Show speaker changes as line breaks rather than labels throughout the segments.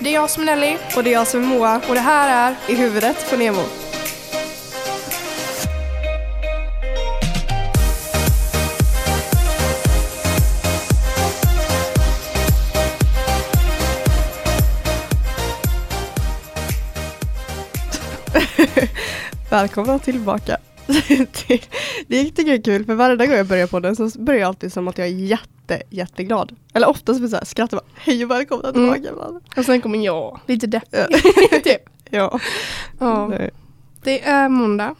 Det är jag som är Nelly
Och det är jag som är Moa.
och det här är
I huvudet på Nemo. Välkomna tillbaka. till- det gick tycker jag är kul för varje gång jag börjar på den så börjar jag alltid som att jag är jätte, jätteglad. Eller oftast blir det så här, skrattar bara, hej och välkomna
Mm.
tillbaka. Mm.
Och sen kommer jag, lite
Ja.
deppig. typ.
Ja.
ja.
Nej.
Det är måndag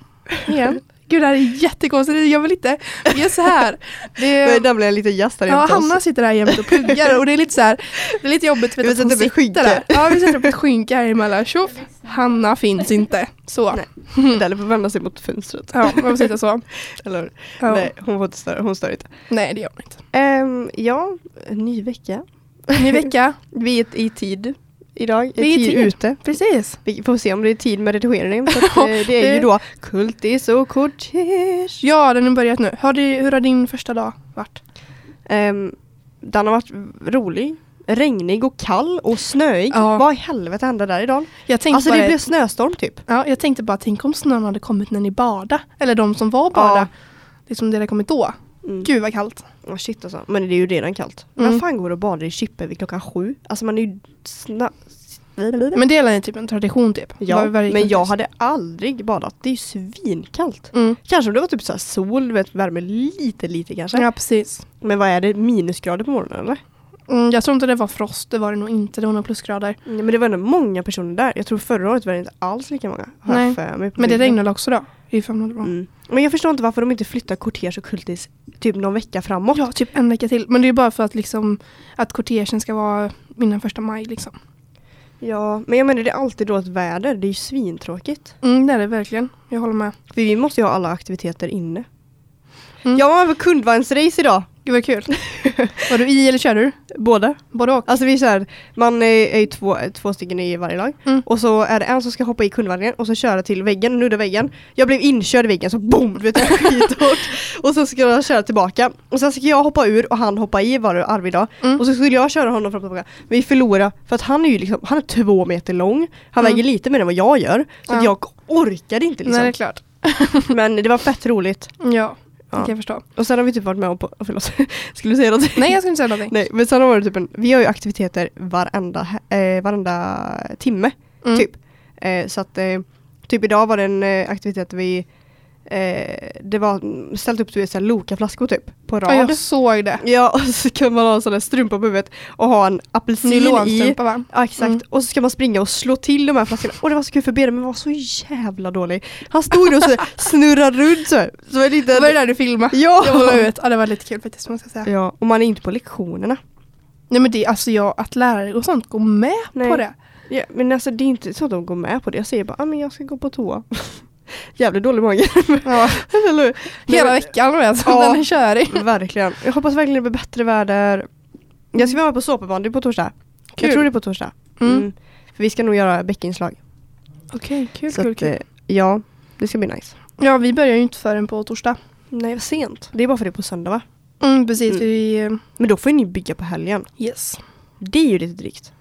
igen. Gud det här är jättekonstigt, jag vill inte. Vi gör så här. Det
Men där blev jag lite gäst här
Ja,
jämte oss.
Hanna sitter här jämt och pluggar och det är lite så här, det är lite jobbigt för
Vi
att hon
sätter upp
sitter
ett skynke.
där. Ja, vi sätter upp ett skynke här emellan. Tjoff, Hanna finns inte. Så.
Nej. Eller får vända sig mot fönstret.
Ja, man får sitta så.
Eller,
Ja.
Nej, hon får inte störa. Hon stör inte.
Nej, det gör man inte.
Ehm, ja, ny vecka.
Ny vecka.
Vi är i tid idag.
Vi är i tid.
ute.
Precis.
Vi får se om det är tid med redigering. För att, eh, det är
det-
ju då kultis och kortis.
Ja, den har börjat nu. Har du, hur har din första dag varit?
Ehm, den har varit rolig. Regnig och kall och snöig.
Ja.
Vad i helvete hände där idag?
Jag tänkte
Alltså
bara,
det blev snöstorm typ.
ja, jag tänkte bara tänk om snön hade kommit när ni bada. Eller de som var bada.
Ja.
Liksom det hade kommit då.
Mm.
Gud vad kallt.
Oh, shit alltså. Men det är ju redan kallt.
Mm.
Vem fan går och badar i Chippe vid klockan sju? Alltså man är ju snabbt...
Men det är typ en tradition typ.
Ja,
Var- varje
men jag
kultis.
hade aldrig badat. Det är ju svinkallt.
Mm.
Kanske om det var typ så här sol, du vet, värmer lite, lite kanske.
Ja, precis.
Men vad är det, minusgrader på morgonen eller?
Mm, jag tror inte det var frost, det var det nog inte. Det var några plusgrader.
Ja, men det var ändå många personer där. Jag tror förra året var det inte alls lika många. Har jag
Nej.
för mig på
Men det
bilden.
regnade också då. I fem minuter bra.
Mm. Men jag förstår inte varför de inte flyttar kortege och kultis typ någon vecka framåt.
Ja, typ en vecka till. Men det är bara för att liksom att kortegen ska vara innan första maj liksom.
Ja, men jag menar det är alltid dåligt väder. Det är ju svintråkigt.
Mm, det är det verkligen. Jag håller med.
För vi måste ju ha alla aktiviteter inne.
Mm.
Jag var med på kundvagnsrace idag.
Gud vad kul. var du i eller kör du?
Båda.
Både och.
Alltså vi är så här, man eh, är ju två, två stycken i varje lag.
Mm.
Och så är det en som ska hoppa i kundvagnen och så köra till väggen, nudda väggen. Jag blev inkörd i väggen så boom, du vet det var skithårt. och så ska jag köra tillbaka. Och sen ska jag hoppa ur och han hoppa i var det Arvid då.
Mm.
Och så skulle jag köra honom fram och tillbaka. Men vi förlorade för att han är ju liksom, han är två meter lång. Han
Mm.
väger lite mer än vad jag gör. Så
Ja.
att jag orkade inte
Nej, det är
liksom.
klart.
Men det var fett roligt.
Ja, det
Ja.
kan jag förstå.
Och sen har vi typ varit med om på, oh, förlåt, skulle du säga något?
Nej, jag ska inte säga någonting.
Nej, men sen var det typ en, vi har ju aktiviteter varenda, he- eh, varenda timme.
Mm.
Typ. Eh, så att, eh, typ idag var det en eh, aktivitet där vi, eh, det var mm, ställt upp du vet, så här Loka-flaskor typ, på
Ja,
rad.
jag såg det.
Ja, och så kan man ha en sån där strumpa på huvudet och ha en apelsin i.
Nylonstrumpa va?
Ja, exakt.
Mm.
Och så ska man springa och slå till de här flaskorna. Och det var så kul för Beder, men var så jävla dålig. Han stod ju och så snurrade runt så här. Så var det lite...
Det var det där du filmade. Jag la
Ja!
ut. Ja, det var lite kul faktiskt. Man ska säga.
ja! Och man är inte på lektionerna.
Nej men det är alltså jag, att lärare och sånt går med
Nej.
på det.
Ja, men alltså det är inte så att de går med på det. Jag säger bara, ah, men jag ska gå på toa. Jävligt dålig mage.
Ja.
Eller hur?
Hela
Nej,
veckan med, så
Ja.
den är körig.
men- Verkligen. Jag hoppas verkligen det blir bättre väder. Jag ska vara med på såpabandy på torsdag.
Mm. Kul.
Jag tror det är på torsdag.
Mm.
Mm. För vi ska nog göra bäckinslag.
Okej, kul,
Så
kul,
att,
kul.
eh, Ja, det ska bli nice.
Ja, vi börjar ju inte förrän på torsdag.
Nej, vad sent. Det är bara för det är på söndag va?
Mm, precis,
Mm.
vi... eh,
Men då får ju ni bygga på helgen.
Yes.
Det är ju lite drygt.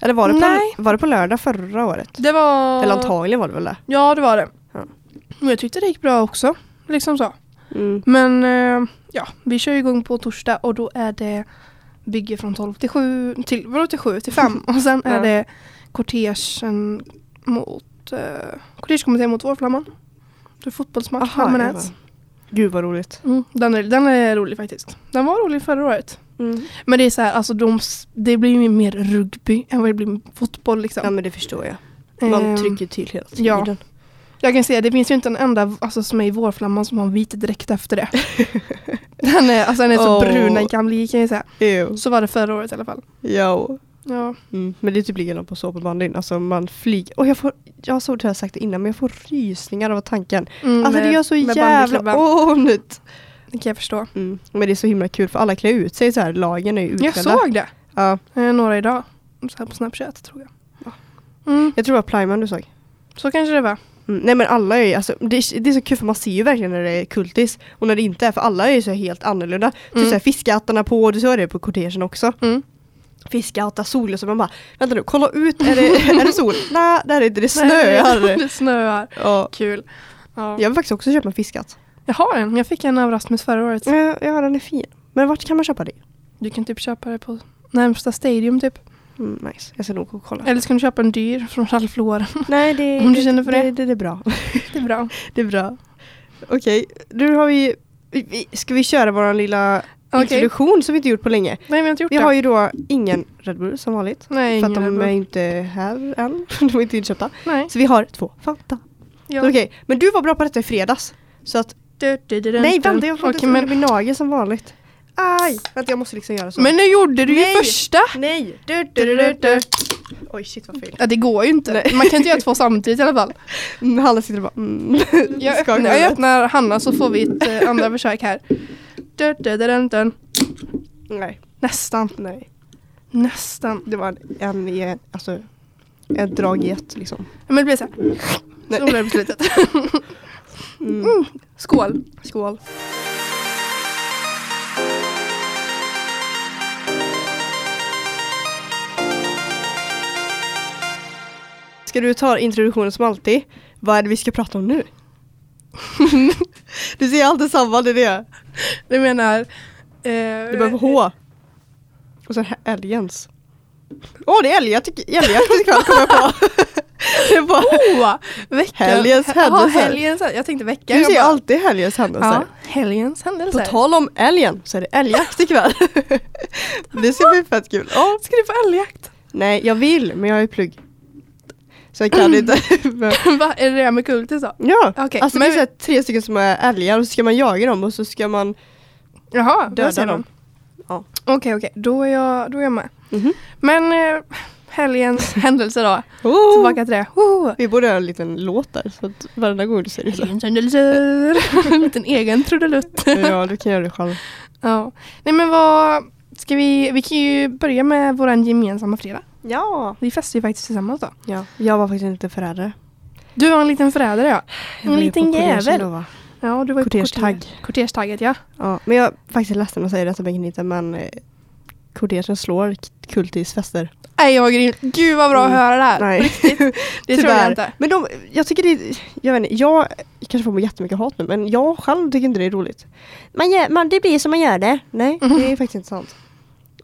Eller var det,
Nej.
på, var det på lördag förra året?
Det var...
Eller antagligen var det väl det?
Ja, det var det.
Ja.
Men jag tyckte det gick bra också. Liksom så.
Mm.
Men eh, ja, vi kör ju igång på torsdag och då är det bygge från 12 till 7, till, vadå till 7 till 5 och sen är
Ja.
det kortegen mot, eh, kortegekommittén mot Vårflamman. Det är fotbollsmatch,
Aha, jag
Halmernäs.
bara- Gud vad roligt.
Mm, den, är, den är rolig faktiskt. Den var rolig förra året.
Mm.
Men det är så här, alltså de, s- det blir ju mer rugby än vad det blir fotboll liksom.
Ja men det förstår jag.
Ehm,
Man trycker till hela tiden.
ja. Jag kan säga, det finns ju inte en enda alltså, som är i vårflamman som har en vit dräkt efter det. den är, alltså, den är så
Åh.
brun den kan bli kan jag säga.
Ew.
Så var det förra året i alla fall.
ehm, Ja.
Ja,
Mm. Men det är typ likadant på såpbandyn. Alltså man flyger. Och jag får, jag har så det har jag sagt det innan men jag får rysningar av tanken.
mm,
Alltså det
med-
gör så
med
jävla
bandyklubban.
ont.
Det kan jag förstå.
Mm. Men det är så himla kul för alla klär ut sig så här. Lagen är ju utklädda.
Jag såg det
Ja.
eh, några idag. Så här på Snapchat tror jag. Mm,
Jag tror det var Plyman du såg.
så kanske det var.
Mm. Nej men alla är ju, alltså, det, är, det är så kul för man ser ju verkligen när det är kultis och när det inte är för alla är ju så helt annorlunda. Typ
Mm.
såhär fiskehattarna på, du såg det på kortegen också.
Mm.
fiska, hata sol och så man bara Vänta nu, kolla ut, är det, är det sol? Nej, det är det inte, det
Nej,
snöar!
det snöar.
Ja.
Kul. Ja.
Jag vill faktiskt också köpa en fiskhatt.
Jag har en. Jag fick en av Rasmus förra året.
Ja, ja, den är fin. Men vart kan man köpa det?
Du kan typ köpa det på närmsta stadium typ.
Mm, nice, jag ska nog gå och kolla.
Eller så kan du köpa en dyr från Ralph Lauren.
Nej, det,
Om du känner för det.
Det, det är bra.
Det är bra.
Det är bra. Okej, nu har vi... vi- vi- Ska vi köra vår lilla
Okej.
introduktion som vi inte gjort på länge?
Nej, vi har inte gjort
Vi
det.
har ju då ingen Red Bull som vanligt.
Nej,
för att
ingen
de
Red
är
Bull.
inte här än. De är inte inköpta.
Nej.
Så vi har två Fanta.
Ja.
Okej, men du var bra på detta i fredags. Så att...
Du, du, du, du,
Nej,
du.
vänta, jag får
Okej,
inte men...
men,
min nagel som vanligt. Aj! Vänta, jag måste liksom göra så.
men nu gjorde du
Nej.
ju första.
Nej! Du, du, du, du, du. Oj, shit vad fel.
Ja, det går ju inte. Man kan inte göra två samtidigt i alla fall.
Mm, Hanna sitter och bara... Mm.
Jag
skakar
öppnar, jag
huvudet.
öppnar Hanna så får vi ett eh, andra försök här. Du, du, du, du, du.
Nej,
Nästan.
nej.
Nästan.
Det var en, en i en- alltså ett drag i ett liksom.
Men det blir så här.
Nej.
Så blir det på slutet.
Mm.
Skål.
Skål. Ska du ta introduktionen som alltid? Vad är det vi ska prata om nu? du ser alltid samma, det är det.
Du menar... Eh,
Du behöver H. Och sen här- älgens. Åh, det är älgjakt älgjakt ikväll kommer jag på. det är bara,
Oh, veckans
Helgens
Ja,
händelser.
helgens händelser. Jag tänkte veckan.
du
jag
ser
bara-
alltid helgens händelser.
Ja, helgens
På
händelser.
tal om älgen så är det älgjakt ikväll. det ska bli fett kul. Ja.
Ska du på älgjakt?
Nej, jag vill men jag är i plugg. Så jag kan inte. Men-
Va, är det det här med kultis då?
ja,
Mm. Okej,
alltså
men-
det är så här tre stycken som är älgar och så ska man jaga dem och så ska man...
Jaha,
Döda
vad säger
dem.
de?
Ja.
Okej, okej. Då, är jag- då är jag med.
Mhm.
Men eh, helgens händelse då.
Oh!
Tillbaka till det. Oh.
Vi borde ha en liten låt där så att varenda gång du säger det så.
Helgens händelser. En liten egen trudelutt.
Ja, du kan göra det själv.
ja. Nej men vad... Ska vi, vi kan ju börja med vår gemensamma fredag.
Ja.
Vi festar ju faktiskt tillsammans då.
ja. Jag var faktiskt en liten förrädare.
Du var en liten förrädare ja.
Jag var
En
ju på
liten
kortegen
jävel.
då, va?
Ja, du var ju på
Korterstagg.
korter- Korterstagget ja.
Ja, men jag är faktiskt ledsen att säga detta Bengt men eh, kortegen slår k- kultis fester.
Nej vad grymt. Gud vad bra att
Mm.
höra det här.
Nej.
På riktigt. Det tror jag inte.
Men de, jag tycker det är, jag vet inte, jag kanske får mig jättemycket hat nu men jag själv tycker inte det är roligt. Man gör, man, det blir som man gör det. Nej, det är faktiskt inte sant.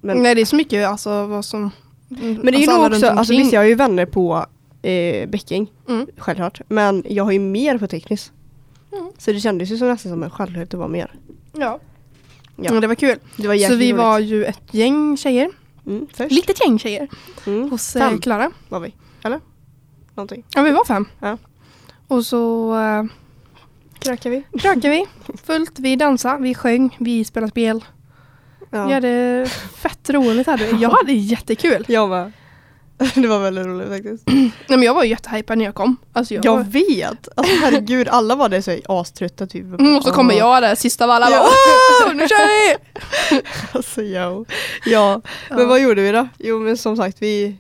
Men,
Nej det är så mycket alltså vad som...
men det är ju nog också, alltså visst jag har ju vänner på eh, Bäcking,
Mm.
självklart. Men jag har ju mer på teknis.
Mm.
Så det kändes ju som nästan som en självklart att vara med.
Ja.
Ja.
ja. det var kul.
Det var
Så vi
roligt.
var ju ett gäng tjejer.
mm, först.
Litet gäng tjejer.
Mm,
Hos eh,
fem
Klara.
var vi, eller? Någonting.
Ja vi var fem.
Ja.
Och så eh,
Krökar vi?
krökade vi fullt. Vi dansade, vi sjöng, vi spelade spel.
Ja.
Vi hade fett roligt hade vi. Jag hade jättekul.
Jag med. Det var väldigt roligt faktiskt.
Nej men jag var ju jättehypad när jag kom. Alltså jag,
Jag
var...
vet! Alltså herregud, alla var där så här aströtta typ.
Mm, och så kommer jag där sist av alla.
Ja.
Bara, "Åh, nu kör vi!
Alltså yo. Ja, men
Ja.
vad gjorde vi då? Jo men som sagt vi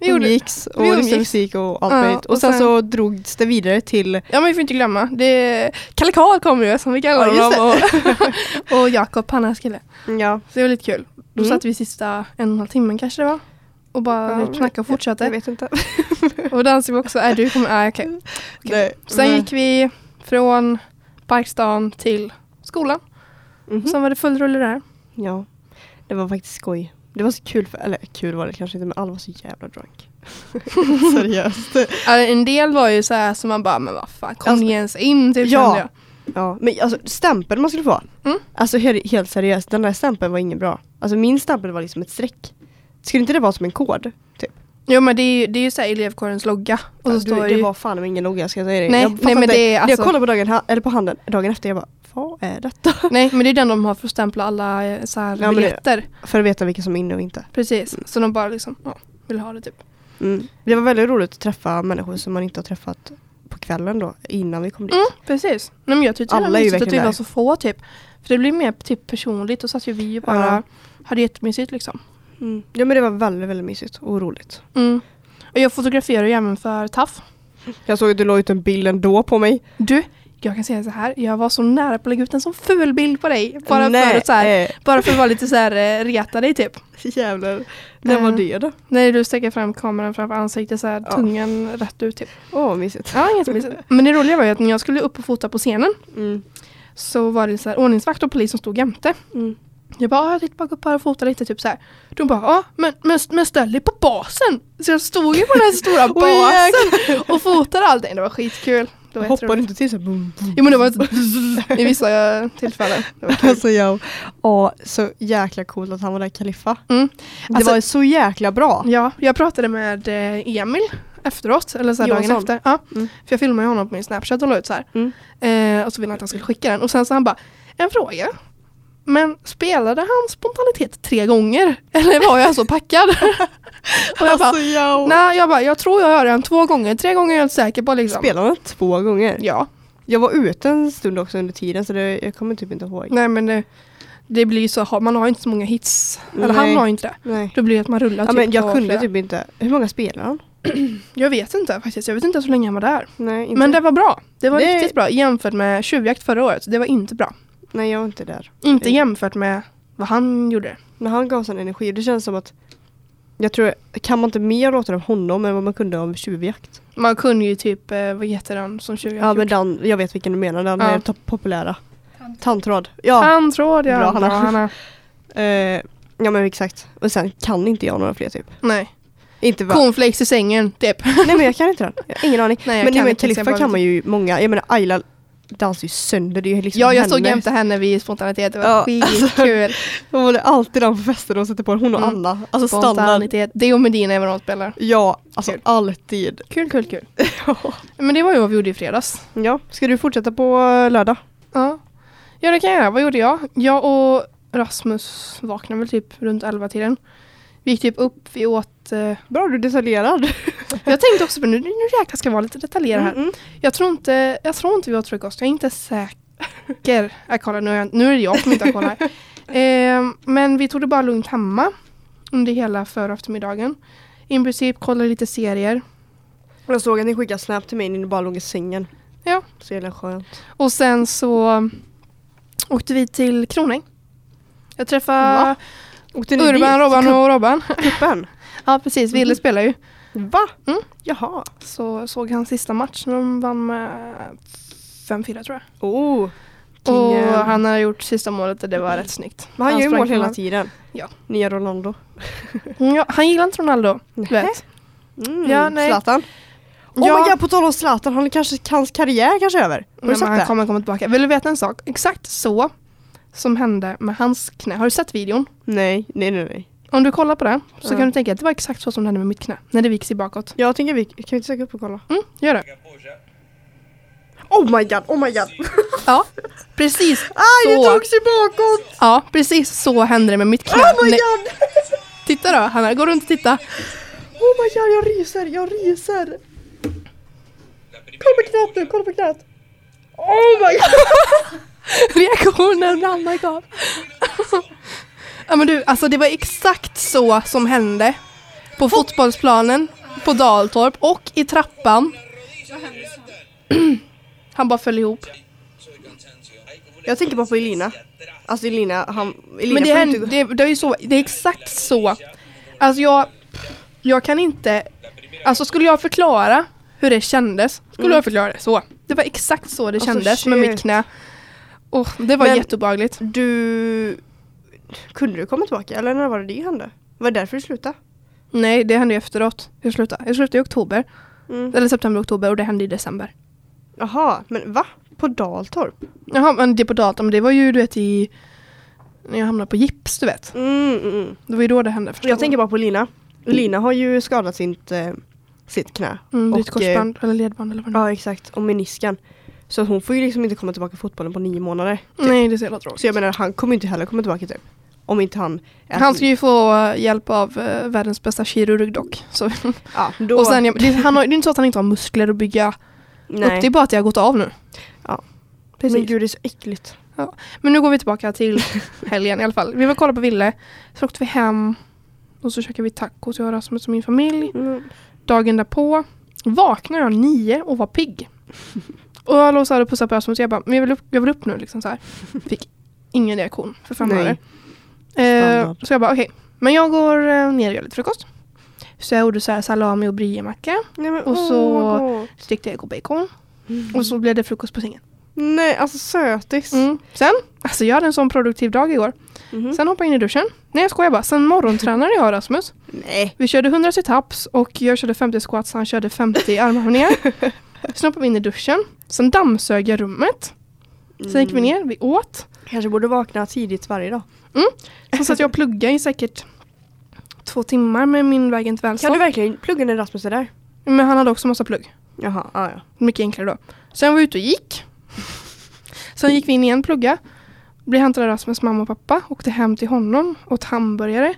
Vi gjorde...
umgicks och
vi
lyssnade
umgicks.
musik och allt
Ja,
möjligt. Och,
och
sen,
sen-
så drogs det vidare till
Ja men vi får inte glömma. Det... Kalle Karl kom ju som vi kallar
Ja, just
honom. Och, och Jakob, han är kille.
Ja,
Så det var lite kul. Då
Mm.
satt vi sista en och en halv timmen kanske det var. Och bara
Ja,
knackade och
jag
fortsatte.
vet inte.
Och dansade vi också. Äh, du kommer, äh, okej. Okej.
Nej,
Sen
men-
gick vi från Parkstan till skolan.
Mhm.
Sen var det full rulle där.
Ja, det var faktiskt skoj. Det var så kul, för, eller kul var det kanske inte men alla var så jävla drunk. Seriöst.
Ja, En del var ju så här som man bara, men vad fan, kom
Alltså-
ni ens in? Typ,
Ja.
kände jag.
Ja, men alltså stämpeln man skulle få.
Mm.
Alltså he- helt seriöst, den där stämpeln var ingen bra. Alltså min stämpel var liksom ett streck. Skulle inte det vara som en kod? Typ?
Jo men det är ju, det är ju så här elevkårens logga. Och så
Alltså, du,
står
det
ju-
var fan med ingen noga ska jag säga dig.
Nej,
jag
nej,
fattar
men
inte.
det är
När
alltså-
Jag kollade på dagen, ha- eller på handen dagen efter, jag bara vad är detta?
Nej, men det är den de har för att stämpla alla eh, så här
Ja, men det- Mm.
biljetter.
För att veta vilka som är inne och inte.
Precis, så de bara liksom, ja, vill ha det typ.
Mm. Det var väldigt roligt att träffa människor som man inte har träffat på kvällen då, innan vi kom dit.
Mm, precis. Nej, men jag tyckte
Alla
det var
är ju
mysigt att vi
verkligen
var
där.
så få typ. För det blir mer typ personligt och så att ju vi ju bara
Ja.
hade jättemysigt liksom.
Mm. Ja men det var väldigt, väldigt mysigt och roligt.
Mm. Och jag fotograferar ju även för TAF.
Jag såg att du la ut en bild ändå på mig.
Du, Jag kan säga så här, jag var så nära på att lägga ut en sån ful bild på dig. Bara,
Nej,
för att, så här,
eh,
bara för att vara lite så här eh, reta dig typ.
Jävlar. När var
Eh.
det då?
När du sträcker fram kameran framför ansiktet så här,
Ja.
tungan rätt ut typ.
Åh, mysigt.
Ja, jättemysigt. Men det roliga var ju att när jag skulle upp och fota på scenen
Mm.
så var det så här, ordningsvakt och polis som stod jämte.
Mm.
Jag bara, "Ah, jag tänkte bara gå upp här och fota lite typ så här. De bara, ja men, men, men ställ dig på basen. Så jag stod ju på den här stora
Oj,
basen och fotade allting. Det var skitkul. Det var
Hoppar du
jätteroligt.
inte till så här, boom, boom.
Jo men det var ett i vissa tillfällen. Det var kul.
Alltså jag, ja så jäkla coolt att han var där Kaliffa.
Mm. Alltså-
det var så jäkla bra.
Ja, jag pratade med eh, Emil efteråt, eller så här dagen
Johansson.
efter. Ja,
Mm.
För jag filmade ju honom på min Snapchat och la ut så här.
Mm.
Eh, och så ville han att han skulle skicka den. Och sen så han bara, en fråga. Men spelade han spontanitet tre gånger? Eller var jag så packad? och jag bara,
Alltså jag.
nej jag bara, jag tror jag hörde den två gånger. Tre gånger är jag inte säker på liksom.
Spelade han två gånger?
Ja,
Jag var ute en stund också under tiden så det, jag kommer typ inte ihåg.
nej men det, det blir ju så, har- man har ju inte så många hits. Eller han
Nej.
har ju inte det.
Nej.
Då blir det att man rullar
Ja, men jag
på
kunde
flera.
typ inte. Hur många spelade han?
Jag vet inte faktiskt, jag vet inte så länge han var där.
Nej, inte.
Men det var bra. Det var
Det-
riktigt bra jämfört med tjuvjakt förra året. Det var inte bra.
Nej, jag var inte där.
Inte
Mm.
jämfört med vad han gjorde.
Men han gav sån energi. Det känns som att jag tror, kan man inte mer låta om honom än vad man kunde om tjuvjakt?
Man kunde ju typ, eh, vad heter han som tjuvjakt?
Ja, men den, jag vet vilken du menar, den
Ja.
är top- populära. Tandtråd. Ja,
Han tror jag.
Bra,
Bra,
Hanna.
Hanna.
Eh, ja men exakt. Och sen kan inte jag några fler typ.
Nej.
Inte va?
Cornflakes i sängen, typ.
Nej men jag kan inte den. Jag har Ingen aning.
Nej, jag
men
kan
i
inte, så jag
Khalifa
bara
kan
vet
man ju många. Jag menar Ayla dansar ju sönder. Det är ju liksom
ja, jag stod
henne.
jämte henne vid spontanitet. Det var
Ja, alltså,
skitkul.
Hon håller alltid den på festen och sätter på den. Hon och
Mm.
Anna. Alltså standard.
spontanitet. Det och Medina även de spelar.
Ja, alltså
Kul.
alltid.
Kul, kul, kul. Men det var ju vad vi gjorde i fredags.
ja, ska du fortsätta på eh, lördag?
Ja. ja, det kan jag göra. Vad gjorde jag? Jag och Rasmus vaknade väl typ runt 11-tiden. Vi gick typ upp, vi åt... Eh,
Bra, du är detaljerad.
Jag tänkte också på nu, nu jäklar ska jag vara lite detaljerad här.
Mm, mm.
Jag tror inte, jag tror inte vi åt frukost, jag är inte säker. Jag kollar, nu, har jag, nu är det jag som inte har kollat. Ehm, men vi tog det bara lugnt hemma under hela förra eftermiddagen. I princip kollade lite serier.
Jag såg att ni skickade snap till mig när ni bara låg i sängen.
Ja.
Så jävla skönt.
Och sen så åkte vi till Kronäng. Jag träffade
Va? Åkte ni
Urban,
dit?
Robban och Robban.
Kuppen?
Ja precis,
Mm.
Ville spelar ju.
Va?
Mm.
Jaha.
Så såg han sista match när de vann med 5-4 tror jag.
Oh.
Och
King, eh,
han har gjort sista målet och det var rätt snyggt.
Men han, gör ju
sprang
mål hela
fram.
tiden.
Ja.
Nya Rolando.
Mm, Ja, han gillar inte Ronaldo. Du
Nähä.
vet.
Mm.
Ja, nej.
Zlatan. Oh
Ja.
my god, på tal om Zlatan, han kanske, hans karriär kanske är över. Har du
Men
sett
han
det?
kommer komma tillbaka. Vill du veta en sak? Exakt så som hände med hans knä. Har du sett videon?
Nej, nej, nej, nej.
Om du kollar på den så
Ja.
kan du tänka att det var exakt så som det hände med mitt knä. När det vik sig bakåt.
Jag tänker vi, kan vi inte söka upp och kolla?
Mm, gör det.
Oh my god, oh my god. Ah,
Ja, precis
Aj, det
så.
tog sig bakåt!
Ja, precis så hände det med mitt knä.
Oh my
Nej,
god!
Titta då, Hanna. Gå runt och titta.
Oh my god, jag ryser, jag ryser! Kolla på knät nu, kolla på knät! Oh my god!
Reaktionen Hanna gav. ja men du, alltså det var exakt så som hände. På fotbollsplanen, på Daltorp och i trappan. Han bara föll ihop.
Jag tänker bara på Elina. Alltså Elina, han... Elina
Men det,
får
är,
inte gå-
det, det är ju så, det är exakt så. Alltså jag, jag kan inte, alltså skulle jag förklara hur det kändes, skulle jag förklara det så. Det var exakt så det
Mm. Alltså,
kändes med mitt
shit.
knä. Och det var
Men-
jätteobehagligt.
Du... Kunde du komma tillbaka eller när var det det hände? Var det därför du slutade?
Nej, det hände ju efteråt. Jag slutade. Jag slutade i oktober.
Mm.
Eller september, oktober och det hände i december.
Jaha, men va? På Daltorp?
Jaha, men det på datum, det var ju du vet i... När jag hamnade på gips, du vet.
Mm, mm, mm.
Det var ju då det hände första
Jag tänker bara på Lina. Lina har ju skadat sitt, eh, sitt knä.
gången. Mm, det är ett
och, eh,
korsband eller ledband eller vad det nu
Ja, exakt. Och menisken. Så att hon får ju liksom inte komma tillbaka i fotbollen på nio månader.
är. Nej, det är så jävla tråkigt.
Så jag menar, han kommer ju inte heller komma tillbaka typ. Om inte han... äter-
Han ska ju få eh, hjälp av eh, världens bästa kirurg dock. Så.
Ja, då...
Och sen, jag- det, han har, det är inte så att han inte har muskler att bygga upp, det är bara att jag har gått av nu.
Ja.
Precis.
Men gud, det är så äckligt.
Ja. Men nu går vi tillbaka till helgen i alla fall. Vi var och kollade på Ville, så åkte vi hem och så käkade vi tacos, jag och Rasmus och min
Mm.
familj. Dagen därpå vaknade jag nio och var pigg. Och alla så hade pussat på Ösmos och jag bara, men jag vill upp, jag vill upp nu liksom så här. Fick ingen reaktion för fem
Nej.
månader. Eh,
Standard.
så jag bara okej, men jag går eh, ner och gör lite frukost. Så jag gjorde så här salami och briemacka.
Nej, men,
Och
åh,
så-
vad gott.
Stekte ägg och bacon.
Mm.
Och så blev det frukost på sängen.
Nej, alltså sötis.
Mm. Sen, alltså jag hade en sån produktiv dag igår.
Mhm.
Sen hoppade jag in i duschen. Nej jag skojar bara, sen morgontränade jag och Rasmus.
Nej.
Vi körde 100 situps och jag körde 50 squats han körde 50 armhävningar. Sen hoppade vi in i duschen. Sen dammsög jag rummet. Sen
Mm.
gick vi ner, vi åt.
Kanske borde vakna tidigt varje dag.
Sen satt jag och pluggade i säkert två timmar med min vägen till
Kan du
välstånd.
verkligen plugga när Rasmus är där?
Men han hade också massa plugg.
Jaha, ah, ja.
Mycket enklare då. Sen var vi ute och gick. Sen gick vi in igen plugga. Blev hämtade av Rasmus mamma och pappa. Åkte hem till honom. Åt hamburgare.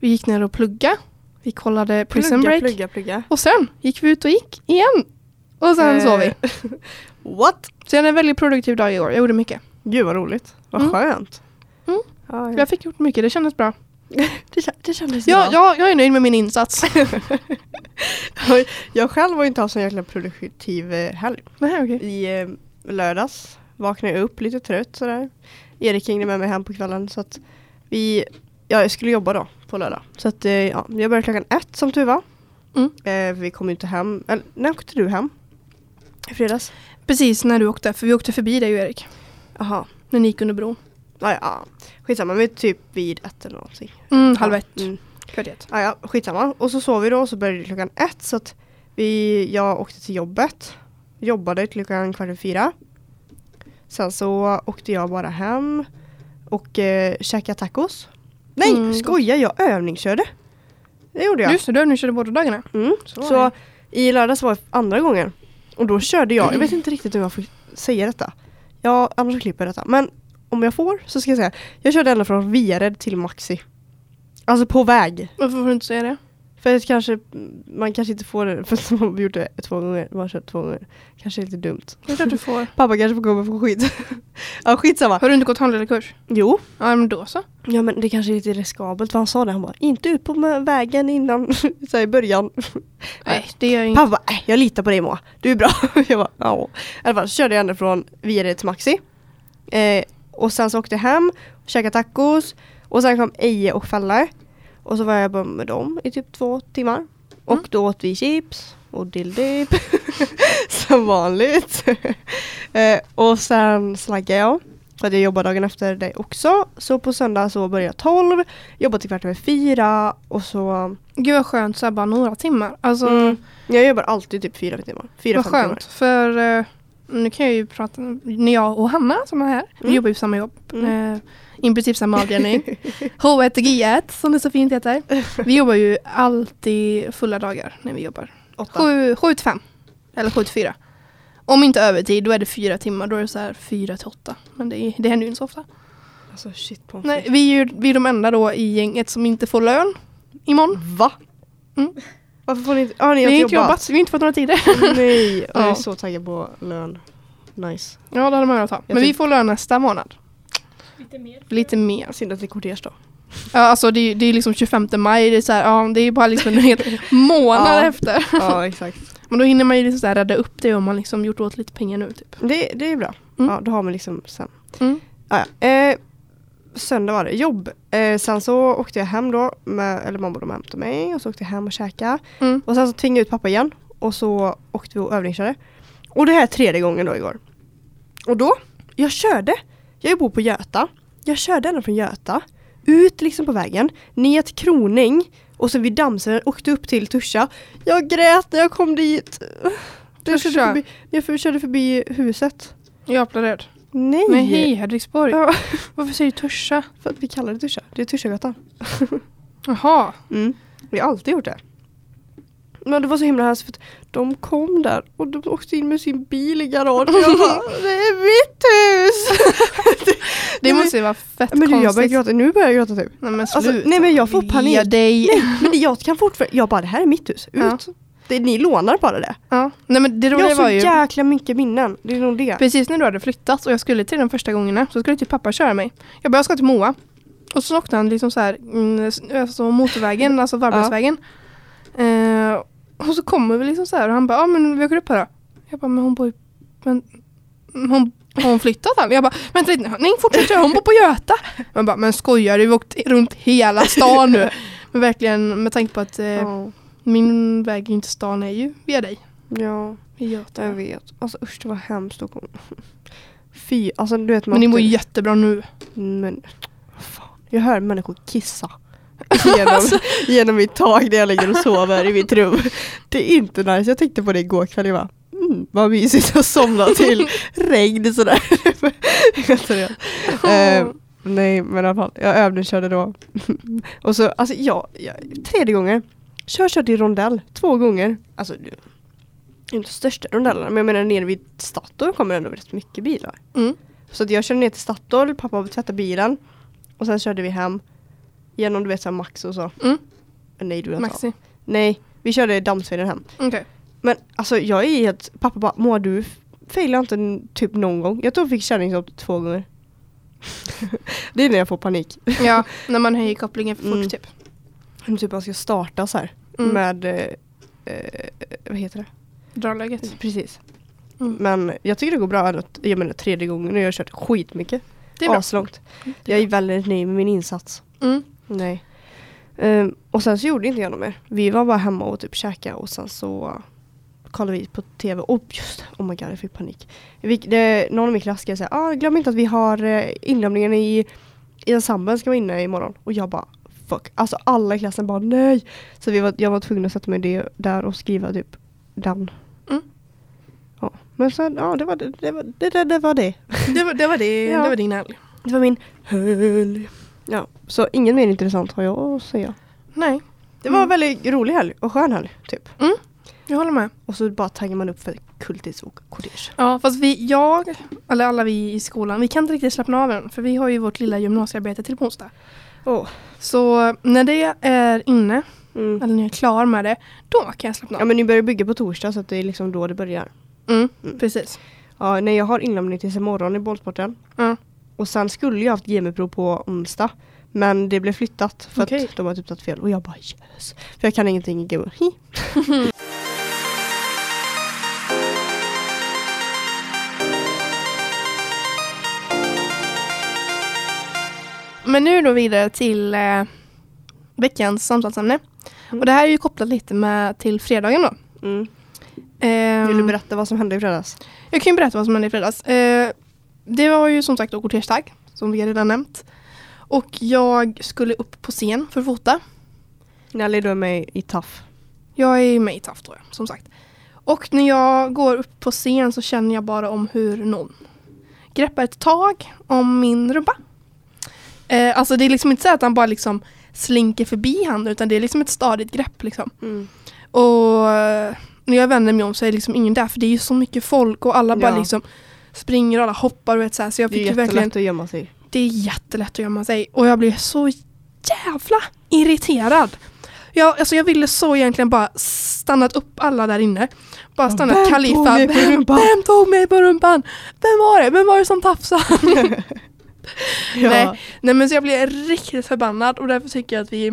Vi gick ner och plugga. Vi kollade Prison
plugga,
Break.
plugga, plugga.
Och sen gick vi ut och gick igen. Och sen
Eh.
sov vi.
What?
Så jag hade en väldigt produktiv dag igår. Jag gjorde mycket.
Gud vad roligt. Vad
Mm.
skönt.
Mm.
Ja, ja.
Jag fick gjort mycket. Det kändes bra.
Det, kä- det kändes
Ja,
bra.
ja, jag är nöjd med min insats.
Oj, Jag själv var ju inte alls en jäkla produktiv eh, helg.
Nej, okej.
I eh, lördags vaknade jag upp lite trött sådär. Erik hängde med mig hem på kvällen så att vi, ja, jag skulle jobba då på lördag. Så att eh, ja, jag började klockan ett som tur var.
Mm.
Eh, vi kom ju inte hem, eller när åkte du hem? I fredags?
Precis när du åkte. För vi åkte förbi dig ju Erik.
Jaha,
När ni gick under bron.
ah, ja, ja. skitsamma, vi är typ vid ett eller någonting.
Mm, halv ett.
Mm.
Kvart i ett.
Ah, ja, skitsamma. Och så sov vi då och så började det klockan ett så att vi, jag åkte till jobbet. Jobbade till klockan kvart över fyra. Sen så åkte jag bara hem och eh, käkade tacos. Nej,
Mm.
skoja, jag övningskörde. Det gjorde jag.
Just det, du övningskörde båda dagarna.
Mm.
Så
Så,
var det.
i lördags var det andra gången. Och då körde jag, jag vet inte riktigt om jag får säga detta. Ja, annars klipper jag detta. Men om jag får så ska jag säga. Jag körde ända från Viared till Maxi. Alltså på väg.
Varför får du inte säga det?
För att kanske, man kanske inte får det för att man har gjort det två gånger. Man har kört två gånger. Kanske är lite dumt.
Det är klart du får.
Pappa kanske får komma på skit. ja, skitsamma.
Har du inte gått handledarkurs?
Jo.
Ja, men då så.
Ja men det kanske är lite riskabelt för han sa det. Han bara, inte ut på med vägen innan, så här i början.
Nej, det gör jag inte.
Pappa bara, äh, jag litar på dig Moa. Du är bra. jag bara, ja. I alla fall så körde jag ända från Viared till Maxi. Eh, och sen så åkte jag hem, käkade tacos. Och sen kom Eje och Felle. Och så var jag bara med dem i typ två timmar. Och
Mm.
då åt vi chips och dilldip. Som vanligt. eh, och sen slaggade jag. För att jag jobbade dagen efter det också. Så på söndag så började jag 12. Jobbade till kvart över fyra. Och så...
Gud vad skönt så här bara några timmar. Alltså,
Mm. Jag jobbar alltid typ fyra timmar. Fyra,
vad
fem timmar.
skönt. För eh, nu kan jag ju prata, när jag och Hanna som är här, vi
Mm.
jobbar ju på samma jobb.
Mm.
Eh, I princip samma avdelning. H1 och G1 som det så fint heter. Vi jobbar ju alltid fulla dagar när vi jobbar.
Åtta.
7 till 5. Eller 7 till 4. Om inte övertid, då är det fyra timmar. Då är det så här 4 till 8. Men det, är- det händer ju inte så ofta.
Alltså shit på
Nej, vi är ju vi är de enda då i gänget som inte får lön imorgon.
Va?
Mm.
Varför får ni inte... Har ni
Vi har
inte
inte jobbat, vi har inte fått några tider.
Nej, jag
Ja.
är så taggad på lön. Nice.
Ja, det hade man velat ha. Men
tyck-
vi får lön nästa månad.
Lite mer.
Lite mer.
Synd att det är kortege då.
Ja, alltså det är, det är liksom 25 maj, det är, så här, ja, det är bara liksom en hel månad
Ja.
efter.
ja, exakt.
Men då hinner man ju liksom så här rädda upp det om man liksom gjort åt lite pengar nu typ.
Det, det är bra.
Mm.
Ja, då har man liksom sen.
Mm.
Ja, ja. Eh, söndag var det, jobb. Eh, sen så åkte jag hem då, med, eller mamma och de hämtade mig och så åkte jag hem och käkade.
Mm.
Och sen så tvingade jag ut pappa igen och så åkte vi och övningskörde. Och det här är tredje gången då igår. Och då, jag körde. Jag bor på Göta. Jag körde ända från Göta. Ut liksom på vägen, ner till Kroning och så vid Dammsö åkte upp till Tuscha. Jag grät när jag kom dit. Jag körde
Tuscha?
förbi, jag körde förbi huset.
Jag applåderar.
Nej!
Men hej Hedvigsborg.
Ja,
Varför säger du Tuscha?
för att vi kallar det Tuscha. Det är Tuschagatan.
Jaha.
Mm. Vi har alltid gjort det. Men det var så himla hemskt för att de kom där och de åkte in med sin bil i garaget och jag bara Det är mitt hus!
Det
Nej, men-
måste ju vara fett
men du, jag börjar
konstigt.
gråta, nu börjar jag gråta typ.
Nej men
Alltså,
sluta.
nej, men jag får
Ge
panik.
dig.
Nej men det- jag kan fortfarande, jag bara det här är mitt hus, ut!
Ja.
Det, ni lånar bara det.
Ja. Nej men det
Jag har
roliga
så
var ju
jäkla mycket minnen, det är nog det.
precis när du hade flyttat och jag skulle till den första gången så skulle typ pappa köra mig. Jag bara jag ska till Moa. Och så åkte han liksom så här mm, alltså motorvägen, alltså Varbergsvägen. Eh, och så kommer vi liksom så här och han bara ja men vi åker upp här då. Jag bara men hon bor ju men hon, har hon flyttat han? Jag bara, vänta lite, nej fortsätt köra, hon bor på Göta. Man bara, men skojar du? Vi har åkt runt hela stan nu. Men verkligen med tanke på att eh,
Ja.
min väg in till stan är ju via dig.
ja,
Via Göta.
jag vet. Alltså usch det var hemskt. att gå- Fy, alltså du vet. man
Men ni mår ju
åkte-
jättebra nu.
Men fan, jag hör människor kissa. Genom, genom mitt tak där jag ligger och sover i mitt rum. Det är inte nice. Jag tänkte på det igår kväll. Jag bara, mm, vad mysigt att somna till regn sådär. Helt seriöst. Eh, nej men i alla fall, jag övningskörde då. och så, alltså ja, ja, tredje gången. Kör, körde i rondell två gånger. Alltså, det är inte största rondellerna men jag menar nere vid Statoil kommer det ändå rätt mycket bilar.
Mm.
Så att jag körde ner till Statoil, pappa tvättade bilen och sen körde vi hem. Genom du vet såhär Max och så.
Mm.
Nej du vet
Maxi.
Nej, vi körde dammsveden hem.
Okej.
Men alltså jag är helt, pappa bara Moa du f- failar inte n- typ någon gång. Jag tror jag fick kärningshopp två gånger. det är när jag får panik.
Ja, när man höjer kopplingen för fort
Mm.
typ.
Men typ man ska starta så här
Mm.
med, eh, eh, vad heter det?
Dragläget.
Precis.
Mm.
Men jag tycker det går bra ändå. att- Jag menar tredje gången och jag har kört skitmycket.
Det är bra.
Aslångt.
Det är
Jag är väldigt nöjd med min insats.
Mm.
Nej. Ehm, och sen så gjorde inte jag något mer. Vi var bara hemma och typ käkade och sen så kollade vi på tv. Och just det, oh my god jag fick panik. Vi, det, någon i min klass skrev säga, ah, glöm inte att vi har eh, inlämningen i, i ensemblen ska vara inne imorgon. Och jag bara fuck. Alltså alla i klassen bara nej. Så vi var, jag var tvungen att sätta mig det, där och skriva typ den.
Mm.
Ja. Men sen, ja det var det. Det var det. det, det, var det.
Det, var, det, var det,
Ja.
det var din helg.
Det var min helg. Ja, så ingen mer intressant har jag att säga.
Nej,
Det var
Mm.
väldigt rolig helg och skön helg typ.
jag håller med.
Och så bara taggar man upp för kultis och kortege.
Ja, fast vi, jag, eller alla vi i skolan, vi kan inte riktigt slappna av än. För vi har ju vårt lilla gymnasiearbete till på onsdag.
Oh.
Så när det är inne,
Mm.
eller när jag är klar med det, då kan jag slappna av.
Ja men ni börjar bygga på torsdag så att det är liksom då det börjar.
Mm,
Mm.
precis.
Ja, nej jag har inlämning tills imorgon i bollsporten.
Ja.
Och sen skulle jag haft GM-prov på onsdag. Men det blev flyttat för
Okej.
att de har typ tagit fel. Och jag bara yes. För jag kan ingenting i GM. Hi.
Men nu då vidare till eh, veckans samtalsämne.
Mm.
Och det här är ju kopplat lite med till fredagen då.
Mm.
Ehm,
Vill du berätta vad som hände i fredags?
Jag kan ju berätta vad som hände i fredags. Eh, det var ju som sagt då kortersdag, som vi redan nämnt. Och jag skulle upp på scen för att fota.
Nelly du är med i TAF.
Jag är med i TAF tror jag, som sagt. Och när jag går upp på scen så känner jag bara om hur någon greppar ett tag om min rumpa. Eh, alltså det är liksom inte så att han bara liksom slinker förbi handen utan det är liksom ett stadigt grepp liksom. Och eh, när jag vänder mig om så är det liksom ingen där för det är ju så mycket folk och alla bara
Ja.
liksom springer och alla hoppar och vet så här. Så jag
Det är
fick ju
jättelätt
verkligen
att gömma sig.
det är jättelätt att gömma sig och jag blev så jävla irriterad. Jag, alltså jag ville så egentligen bara stannat upp alla där inne. Bara stannat
Vem
Khalifa.
tog mig på
vem,
rumpan?"
vem tog mig på rumpan? Vem var det? Vem var det som tafsade?
Ja.
Nej. Nej men så jag blev riktigt förbannad och därför tycker jag att vi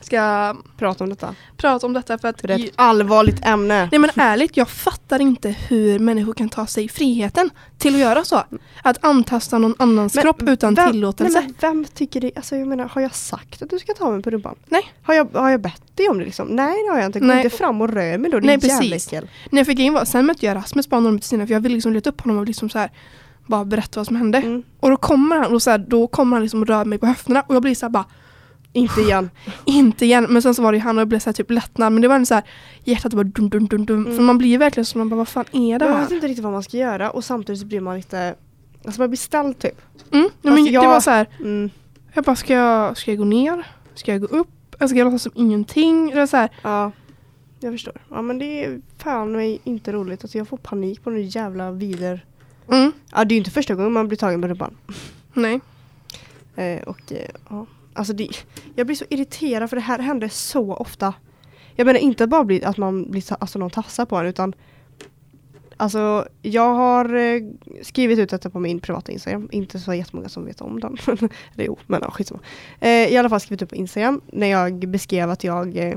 ska
Prata om detta.
prata om detta för att
För det är ett allvarligt ämne.
Nej men ärligt, jag fattar inte hur människor kan ta sig friheten till att göra så. Att antasta någon annans
Men
kropp utan
vem-
tillåtelse.
Nej, men vem tycker det? Alltså jag menar, har jag sagt att du ska ta mig på rumpan?
Nej.
Har jag, har jag bett dig om det liksom? Nej det har jag inte. Gå
Nej.
inte fram och rör mig då, din
Nej,
Nej,
precis.
jävla äckel.
När jag fick in var, sen mötte jag Rasmus bara några minuter senare för jag ville liksom leta upp honom och liksom så här bara berätta vad som hände.
Mm.
Och då kommer han och så här, då kommer han liksom och rör mig på höfterna och jag blir så här bara
Inte igen.
inte igen. Men sen så var det ju han och jag blev så här typ lättnad men det var en så här hjärtat bara dum dum dum dum
Mm. alltså,
för man blir ju verkligen som man bara vad fan är det
Men man
här?
vet inte riktigt vad man ska göra och samtidigt så blir man lite, alltså man blir ställd typ.
Mm. Nej, men
Alltså,
det
jag-
var så här
Mm.
jag bara ska jag, ska jag gå ner? Ska jag gå upp? Eller Ska jag låtsas som ingenting? Eller så här,
Ja. Jag förstår. Ja men det är fan mig inte roligt. Alltså jag får panik på den jävla vider.
mm.
Ja det är ju inte första gången man blir tagen på rumpan.
Nej.
Eh, och eh, ja, alltså det, jag blir så irriterad för det här händer så ofta. Jag menar inte bara bli, att man blir, ta- alltså någon tassar på en utan Alltså jag har eh, skrivit ut detta på min privata Instagram, inte så jättemånga som vet om den. Eller jo, men ja, skitsamma. Eh, I alla fall skrivit upp på Instagram när jag beskrev att jag eh,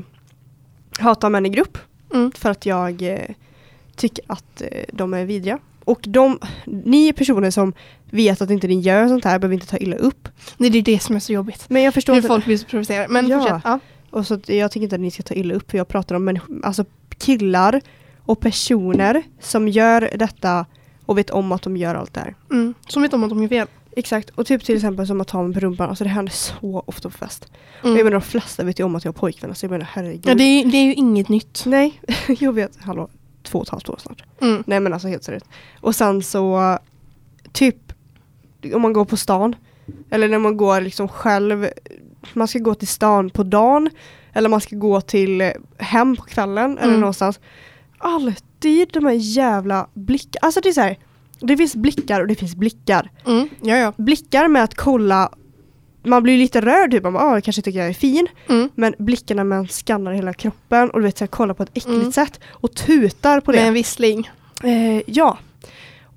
hatar män i grupp
Mm.
för att jag eh, tycker att eh, de är vidriga Och de, ni personer som vet att inte ni gör sånt här behöver inte ta illa upp.
Nej, det är det som är så jobbigt.
Men jag förstår
Hur
inte.
folk blir så provocerade. Men
Ja.
fortsätt. Ja.
Och så att jag tycker inte att ni ska ta illa upp för jag pratar om men, alltså, killar och personer som gör detta och vet om att de gör allt det här.
Mm. Som vet om att de gör fel.
Exakt, och typ till exempel som att ta mig på rumpan, alltså det händer så ofta på fest.
Mm.
Jag menar de flesta vet ju om att jag har pojkvän, alltså jag menar herregud.
ja, det, är, det är ju inget nytt.
Nej, jag vet, hallå, två och ett halvt år snart.
Mm.
Nej men alltså helt seriöst. Och sen så, typ om man går på stan, eller när man går liksom själv, man ska gå till stan på dagen, eller man ska gå till eh, hem på kvällen eller
Mm.
någonstans. Alltid de här jävla blickarna, alltså det är så här, det finns blickar och det finns blickar.
Mm. Ja, ja.
Blickar med att kolla, man blir lite rörd typ, man bara, "Ah, jag kanske tycker jag är fin.
Mm.
Men blickarna man skannar hela kroppen och du vet så här, kollar på ett äckligt
Mm.
sätt och tutar på det.
Med en vissling.
Eh, ja.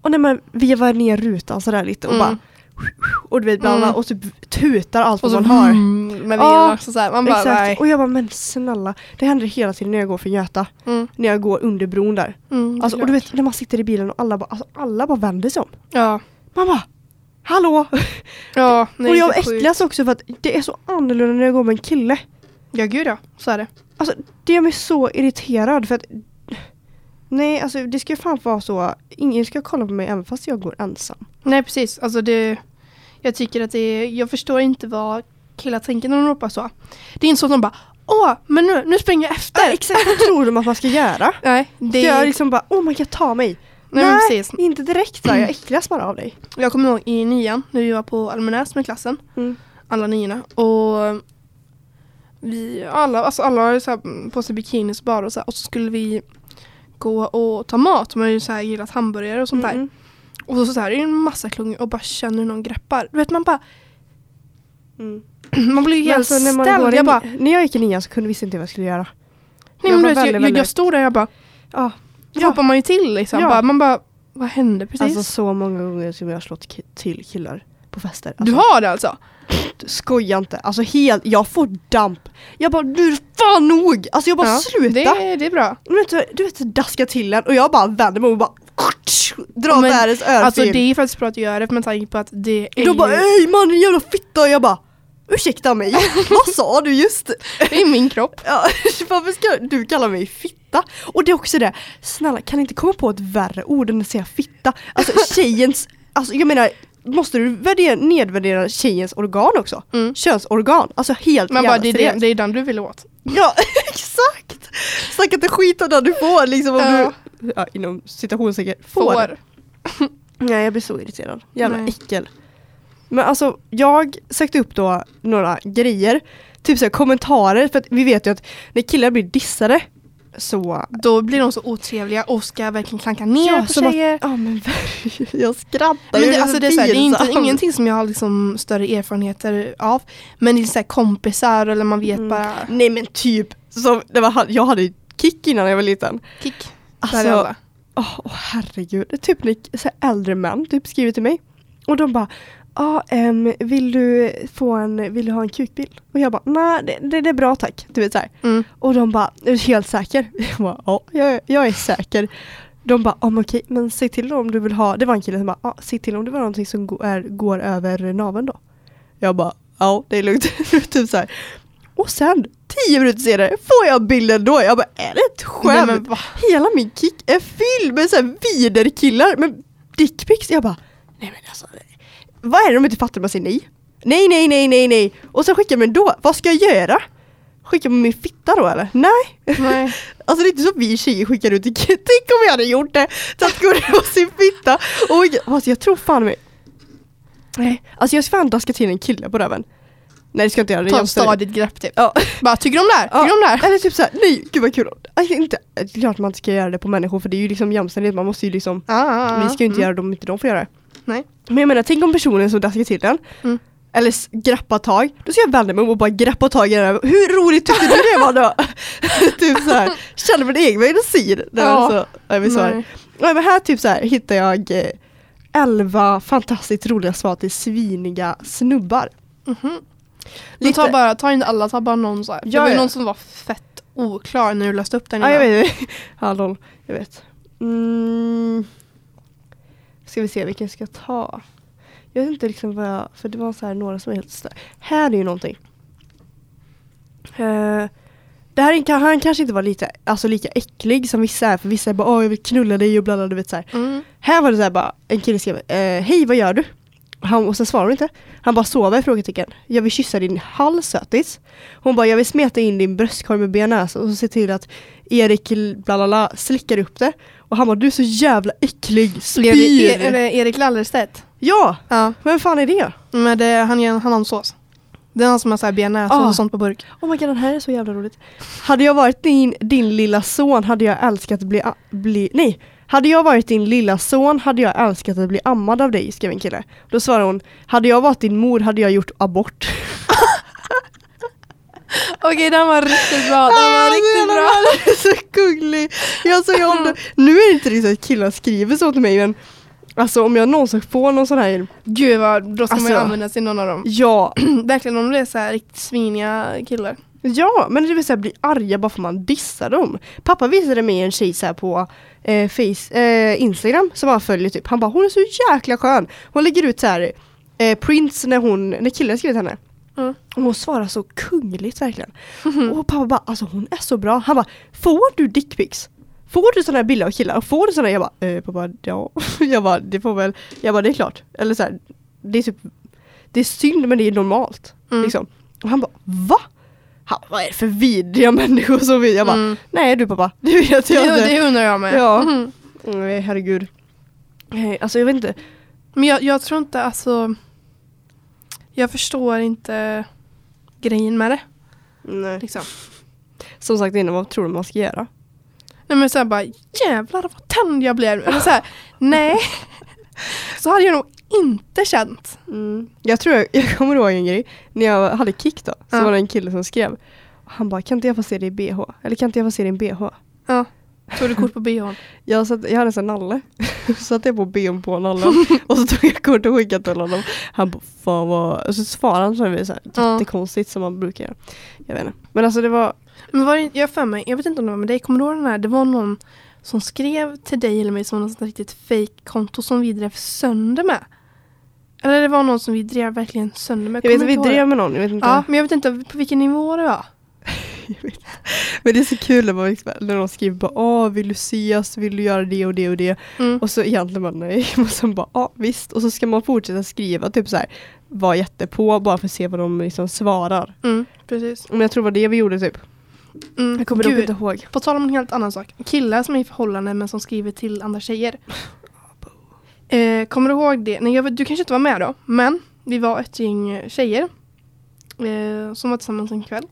Och när man vevar ner rutan sådär lite och
Mm.
bara och du vet bla, bla,
Mm.
och typ tutar allt
Och
vad
så
man har.
mm, med
Ja,
vingarna också så här. Man bara nej.
Exakt. Och jag bara men snälla. Det händer hela tiden när jag går för Göta.
Mm.
När jag går under bron där.
Mm,
Alltså, och du
såklart.
vet när man sitter i bilen och alla bara, alltså, alla bara vänder sig om.
Ja.
Man bara Hallå!
Ja, nej,
och
det
jag
är sjukt.
äcklas också för att det är så annorlunda när jag går med en kille.
Ja, gud ja. Så är det.
Alltså det gör mig så irriterad för att Nej alltså det ska ju fan vara så Ingen ska kolla på mig även fast jag går ensam.
Nej, precis. Alltså det, jag tycker att det är, jag förstår inte vad killar tänker när de ropar så. Det är inte så att de bara Åh, men nu, nu springer jag efter.
Ja, exakt vad tror de att man ska göra?
Nej, det
Ska jag
är...
liksom bara, oh my god, ta mig.
nej, men precis.
inte direkt. Så här, jag äcklas bara av dig.
Jag kommer ihåg i nian när vi var på Almenäs med klassen.
Mm.
alla niorna och vi alla, alltså alla har ju så här mm, på sig bikinis bara och så, här, och så skulle vi gå och ta mat. Man har ju så här gillat hamburgare och sånt där.
Mm,
Och så, så här är det en massa klungor och bara känner hur någon greppar. Du vet man bara,
mm.
man blir ju
Men
helt
alltså, när, man
ställd.
går i-
Jag bara,
när jag gick i nian så kunde visste inte vad jag skulle göra.
nej
jag
men du
var
vet, jag,
väldigt,
jag,
väldigt-
jag stod där och jag bara,
Ja.
då hoppar man ju till liksom.
Ja.
Bara, man bara, vad hände precis?
Alltså så många gånger som jag har slått ki- till killar på fester. Alltså,
du har det alltså?
Skoja inte. Alltså helt, jag får damp. Jag bara, du fan nog! Alltså jag bara, sluta!
Det, det är bra.
Du vet, du vet daska till den och jag bara vänder mig och bara drar åt
Men,
världens örfil.
Alltså det är faktiskt bra att göra det med tanke på att det är
Då bara
ju,
ej mannen jävla fitta och jag bara ursäkta mig, vad sa du just?
det är min kropp.
Ja, varför ska du kalla mig fitta? Och det är också det, snälla kan ni inte komma på ett värre ord än att säga fitta? Alltså tjejens, alltså jag menar måste du värdera, nedvärdera tjejens organ också?
Mm.
Könsorgan, alltså helt
Man
jävla
bara, det är, det,
seriöst.
det är den du vill åt.
Ja exakt! Snacka inte skit om den du får liksom om
Ja.
du, ja, inom citationstecken, får.
Får.
Nej jag blir så irriterad. Jävla
Nej.
äckel. Men alltså jag sökte upp då några grejer. Typ så här, kommentarer för att vi vet ju att när killar blir dissade så...
Då blir de så otrevliga och ska verkligen klanka ner på
som att-
tjejer.
Ja men jag skrattar
Men
jag
det,
blir
alltså det, är så här, det är
pinsam.
inte, ingenting som jag har liksom större erfarenheter av. Men det är så här kompisar eller man vet
Mm.
bara
Nej men typ, som, det var, jag hade ju kick innan jag var liten.
kick. Där är
Alltså,
alla.
åh åh, herregud. Det är Typ när så här äldre män typ skriver till mig. Och de bara, ah, ehm, vill, du få en, vill du ha en kukbild? Och jag bara, nej det, det, det är bra tack. Du vet så här.
Mm.
Och de bara, är du helt säker? Jag bara, ja, jag, är- jag är säker. De bara, ja men okej, men säg till om du vill ha, det var en kille som bara, ja, säg till om det var någonting som går, är, går över naveln då. Jag bara, ja det är lugnt. typ så här. Och sen, tio minuter senare, får jag bilden då. Jag bara, är det ett
Nej,
skämt?
men va?
Hela min kick är fylld med så här viderkillar med dickpics. Jag bara, nej men alltså, vad är det de inte fattar? Man säger nej. Nej, nej, nej, nej, nej. Och sen skickar de en då, vad ska jag göra? Skicka på min fitta då eller? Nej.
Nej.
Alltså det är inte så vi tjejer skickar ut en kick. Tänk om jag hade gjort det. Tack gå det på sin fitta. Och, jag- alltså jag tror fan mig. Nej. Alltså jag ska fan daska till en kille på röven. Nej det ska jag inte göra. Det är
Ta ett
jämställdhet.
stadigt grepp typ.
Ja.
Bara, tycker du om det här? Tycker du om det här?
Eller typ såhär, nej gud vad kul. Alltså, inte, det är klart man inte ska göra det på människor för det är ju liksom jämställdhet, man måste ju liksom, vi ska ju
Mm.
inte göra det om inte de får göra det.
Ah. Nej.
Men jag menar, tänk om personen som daskar till den,
Mm.
eller s- grappar tag, då ska jag vända mig om och bara greppa tag i den här. Hur roligt tyckte du det var då? typ såhär, känner min egen medicin. Ja.
Ja.
Alltså, jag blir så här.
Nej.
Nej, men här typ så här hittar jag eh, 11 fantastiskt roliga svar till sviniga snubbar.
Mhm. Men
Lite-
ta, bara, ta inte alla, ta bara någon så här. det
Ja,
var ju
ja.
någon som var fett oklar när du läste upp den
Ah, Ja, jag
innan.
vet. Ja, lol. Jag vet. Mm. Ska vi se vilken jag ska ta. Jag vet inte liksom vad jag, för det var så här några som är helt stö- Här är ju någonting. Eh, det här är, kan- han kanske inte var lite, alltså lika äcklig som vissa är, för vissa är bara åh jag vill knulla dig och bla bla, du vet så här.
Mm.
Här var det så här bara, en kille skrev eh, Hej vad gör du? Han, och sen svarade hon inte. Han bara sover? Frågetecken. Jag vill kyssa din hals sötis. Hon bara jag vill smeta in din bröstkorg med bearnaise och så se till att Erik bla bla bla slickar upp det. Och han bara du är så jävla äcklig,
Erik,
spyr!
Erik Lallerstedt.
Ja!
Ja.
Vem fan är det?
Men det, han gör en hanonsås. Det är han som har så här bearnaisesås
Ah.
och sånt på burk.
Oh my god, den här är så jävla roligt. Hade jag varit din, din lilla son hade jag älskat att bli, a- bli... Nej! Hade jag varit din lilla son hade jag älskat att bli ammad av dig, skrev en kille. Då svarade hon, hade jag varit din mor hade jag gjort abort.
Okej, den var riktigt bra. Den var riktigt bra.
Det Ah, är så gullig! Jag såg om, nu är det inte riktigt att killar skriver så till mig men Alltså om jag någonsin får någon sån här
Gud vad, då ska man ju
Alltså.
använda sig någon av dem. Mm,
Ja,
Verkligen om det är så här riktigt sviniga killar.
Ja, men det vill säga bli arga bara för att man dissar dem. Pappa visade mig en tjej så här på eh, face, eh, Instagram som han följer typ. Han bara hon är så jäkla skön. Hon lägger ut så här eh, prints när, hon, när killen skrivit henne.
Mm.
Och hon svarar så kungligt verkligen. Och pappa bara alltså hon är så bra. Han bara får du dickpics? Får du sådana här bilder av killar? Och Får du sådana? Jag bara eh, pappa ja. Jag bara det får väl. Jag bara det är klart. Eller så här, det är typ det är synd men det är normalt.
Mm.
Liksom. Och han bara va? Han, vad är det för vidriga människor som vill? Jag bara
Mm.
nej du pappa, det vet jag
Det,
inte.
det undrar jag med.
Ja.
Mhm.
Nej Mm, herregud. Nej, Alltså jag vet inte.
Men jag, jag tror inte, alltså. Jag förstår inte grejen med det.
Nej.
Liksom.
Som sagt innan, vad tror du man ska göra?
Nej men såhär bara jävlar vad tänd jag blev. Eller såhär, nej. Så hade jag nog inte känt.
Jag tror jag, jag kommer ihåg en grej. När jag hade kick då, så
Ja.
var det en kille som skrev. Han bara kan inte jag få se dig i bh? Eller kan inte jag få se din bh?
Ja. Tog du kort på bhn?
Jag, satt, jag hade en sån nalle. Satte jag på ben på nallen. och så tog jag kort och skickade till honom. Han bara fan vad... Och så svarade han så här, så här
Ja.
jättekonstigt som man brukar göra. Jag vet inte. Men alltså det var...
Men var det, jag har för mig, jag vet inte om det var med dig, kommer du ihåg den här? Det var någon som skrev till dig eller mig som var något sånt där riktigt fake-konto som vi drev sönder med. Eller det var någon som vi drev verkligen sönder med.
Jag vet
kommer
att vi
inte ihåg
drev med någon. Jag vet
det.
inte.
Ja, men jag vet inte på vilken nivå det var.
Men det är så kul när, man, liksom- när någon skriver bara Åh, vill du ses? Vill du göra det och det och det?
Mm.
Och så egentligen bara nej. Och sen bara ja visst. Och så ska man fortsätta skriva typ så här. Var jättepå bara för att se vad de liksom svarar.
Mm, precis.
Men jag tror det var det vi gjorde typ.
Mm.
dock
Gud,
ihåg.
På tal om en helt annan sak. Killar som är i förhållande men som skriver till andra tjejer. Eh, kommer du ihåg det? Nej, jag vet, du kanske inte var med då. Men vi var ett gäng tjejer. Eh, som var tillsammans en kväll.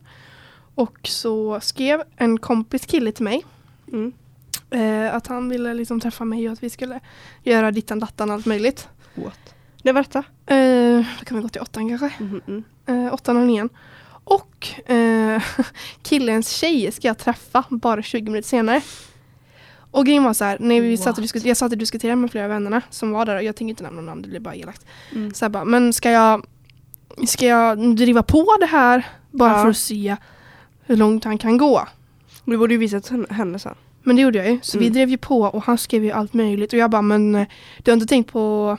Och så skrev en kompis kille till mig.
Mm.
Eh, att han ville liksom träffa mig och att vi skulle göra dittan dattan allt möjligt.
What? Det var detta.
Eh, då kan vi gå till åttan kanske.
Mm, mm.
Eh, åttan och nian. Och eh, killens tjej ska jag träffa bara 20 minuter senare. Och grejen var så här, när vi satt och
What?
diskuter- jag satt och diskuterade med flera av vännerna som var där och jag tänker inte nämna namn, det blir bara elakt.
Mm.
Så jag bara, men ska jag, ska jag driva på det här bara
Ja.
för att se hur långt han kan gå?
Du borde ju visat henne- henne sen.
Men det gjorde jag ju. Så vi
Mm.
drev ju på och han skrev ju allt möjligt. Och jag bara, men eh, du har inte tänkt på,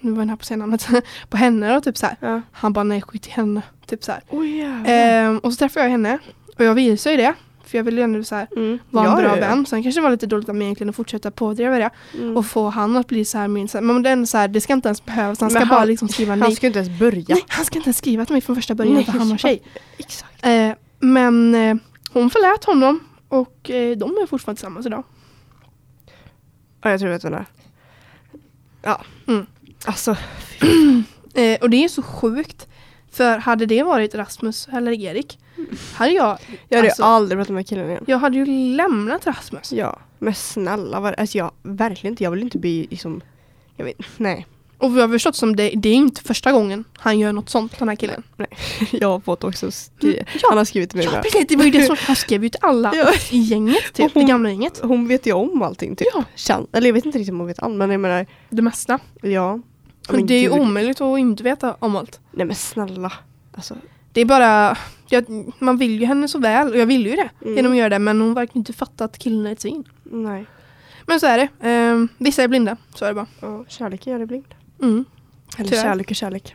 nu var jag här på att säga namnet, på henne då typ så här.
Ja.
Han bara, nej skit i henne. Typ så här.
Oh, jävlar.
Ehm, och så träffade jag henne och jag visade ju det. För jag ville ju ändå så här,
mm.
vara en
Ja,
bra
ja, ja.
vän. Sen kanske det var lite dåligt av mig egentligen att fortsätta pådriva det.
Mm.
Och få han att bli så här min. så här- Men det, är ändå så här, det ska inte ens behövas. Han ska
Men
bara liksom skriva nej.
Han ska ju inte ens börja.
nej. Han ska inte ens skriva till mig från första början
Nej.
för han var tjej.
Exakt.
Eh, men eh, hon förlät honom. Och eh, de är fortfarande tillsammans idag.
Ja, jag tror jag vet vem det är. Ja.
Mm.
Alltså.
Eh, och det är så sjukt. För hade det varit Rasmus eller Erik. Hade jag,
Mm. Jag hade
Alltså.
ju aldrig pratat med killen igen.
jag hade ju lämnat Rasmus.
Ja, men snälla, var, alltså jag, verkligen inte, jag vill inte bli liksom, jag vet, nej.
Och vi har förstått som det, det är inte första gången han gör något sånt den här killen.
Jag har fått också, skri-
Mm, ja,
han har skrivit till mig
Ja
bara,
precis, det var ju det som han skrev ju till alla
Ja.
i gänget, typ, det
Hon-
gamla gänget.
hon vet ju om allting typ.
Ja.
Känn, eller jag vet inte riktigt om hon vet allt, men jag menar,
Det mesta.
ja.
det är ju
gud.
omöjligt att inte veta om allt.
Nej men snälla. Alltså,
Det är bara, jag, man vill ju henne så väl och jag vill ju det
Mm.
genom att göra det men hon verkar inte fatta att killen är ett svin.
nej.
Men så är det. Ehm, vissa är blinda, så är det bara.
Ja, kärlek gör det blind.
Mm.
Eller
Tyvärr.
kärlek och kärlek.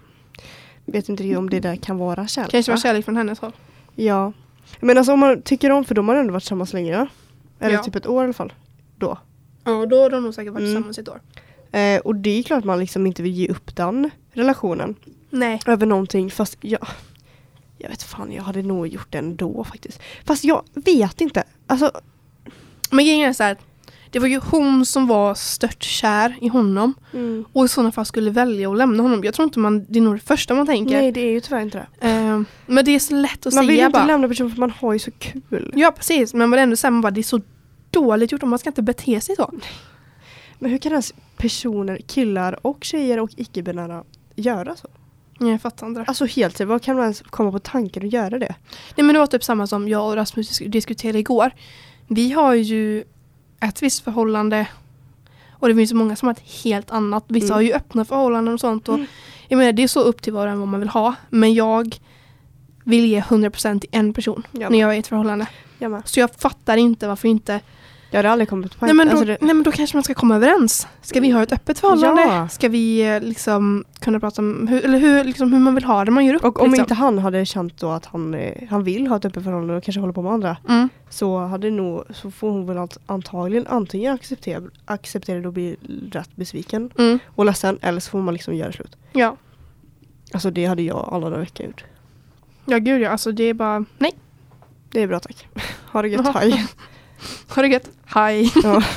Vet inte riktigt om det där kan vara kärlek.
Kanske var
va?
kärlek från hennes håll.
Ja. Men alltså om man tycker om, för de har ändå varit tillsammans länge ja? Eller
Ja.
typ ett år i alla fall. Då.
Ja, då har de nog säkert varit
Mm.
tillsammans i ett år.
Eh, och det är klart att man liksom inte vill ge upp den relationen.
Nej.
Över någonting, fast jag... Jag vet fan, jag hade nog gjort det ändå faktiskt. Fast jag vet inte. Alltså,
Men grejen är så här, det var ju hon som var störtkär i honom
Mm.
och i sådana fall skulle välja att lämna honom. Jag tror inte man, det är nog det första man tänker.
nej det är ju tyvärr inte det.
Ehm, men det är så lätt att
Man vill ju
säga
inte
bara.
lämna personen för man har ju så kul.
Ja precis, men man är ändå så här, man bara, det är så dåligt gjort och man ska inte bete sig så.
Men hur kan ens personer, killar och tjejer och icke-binära göra så?
Nej, Jag fattar inte det.
Alltså helt seriöst, vad kan man ens komma på tanken att göra det?
Nej men det var typ samma som jag och Rasmus disk- diskuterade igår. Vi har ju ett visst förhållande och det finns ju många som har ett helt annat. Vissa
Mm.
har ju öppna förhållanden och sånt. Och Jag menar det är så upp till var och en vad man vill ha. Men jag vill ge 100% till en person
Ja.
när jag är i ett förhållande.
Jag med.
Så jag fattar inte varför inte.
Jag hade aldrig kommit på
Nej men, då,
alltså det,
nej men då kanske man ska komma överens. Ska vi ha ett öppet förhållande?
Ja.
Ska vi eh, liksom kunna prata om hur, eller hur, liksom, hur man vill ha det man gör upp?
Och om
liksom.
inte han hade känt då att han, eh, han vill ha ett öppet förhållande och kanske hålla på med andra
Mm.
så, hade nog, så får hon väl ant- antagligen antingen acceptera, acceptera det och bli rätt besviken
Mm.
och ledsen eller så får man liksom göra slut.
Ja.
Alltså det hade jag alla dagar i veckan gjort.
ja, gud ja. Alltså det är bara, nej.
Det är bra tack. Ha det gött,
Jaha.
hej.
Ha det gött. Hej.
Ja.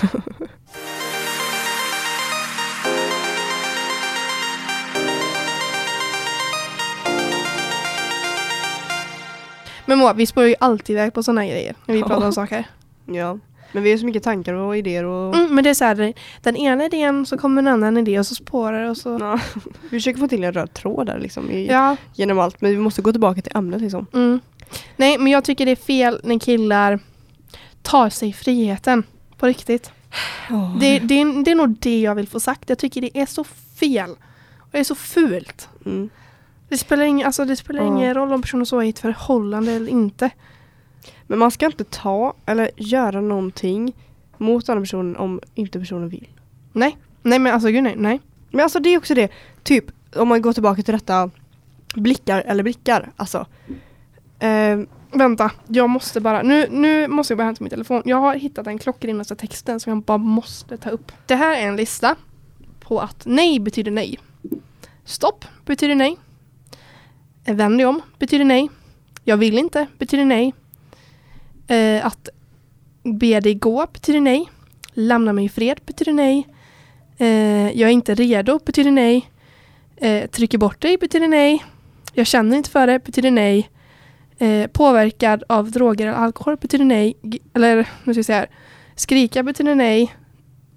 Men Moa, vi spårar ju alltid iväg på sådana här grejer när vi
Ja.
pratar om saker.
ja. Men vi har så mycket tankar och idéer och...
Mm, men det är så här, den ena idén så kommer en annan idé och så spårar det och så...
Ja. Vi försöker få till en röd tråd där liksom i,
Ja.
genom allt men vi måste gå tillbaka till ämnet liksom.
Mm. Nej, men jag tycker det är fel när killar tar sig friheten. På riktigt. Det, det, är- det är nog det jag vill få sagt. Jag tycker det är så fel. Och det är så fult.
Mm.
Det spelar, ingen, alltså det spelar
Ja.
ingen roll om personen så är i ett förhållande eller inte.
Men man ska inte ta eller göra någonting mot andra personen om inte personen vill.
Nej. Nej men alltså gud nej. nej.
Men alltså det är också det, typ om man går tillbaka till detta blickar eller blickar, alltså. Ehm,
Vänta, jag måste bara, nu, nu måste jag bara hämta min telefon. Jag har hittat en klockrenaste texten som jag bara måste ta upp. Det här är en lista på att nej betyder nej. Stopp betyder nej. Eh, Vänd dig om betyder nej. Jag vill inte betyder nej. Eh, att be dig gå betyder nej. Lämna mig i fred betyder nej. Eh, jag är inte redo betyder nej. Eh, trycker bort dig betyder nej. Jag känner inte för det betyder nej. Eh, påverkad av droger eller alkohol betyder nej. G- Eller nu ska jag säga här. Skrika betyder nej.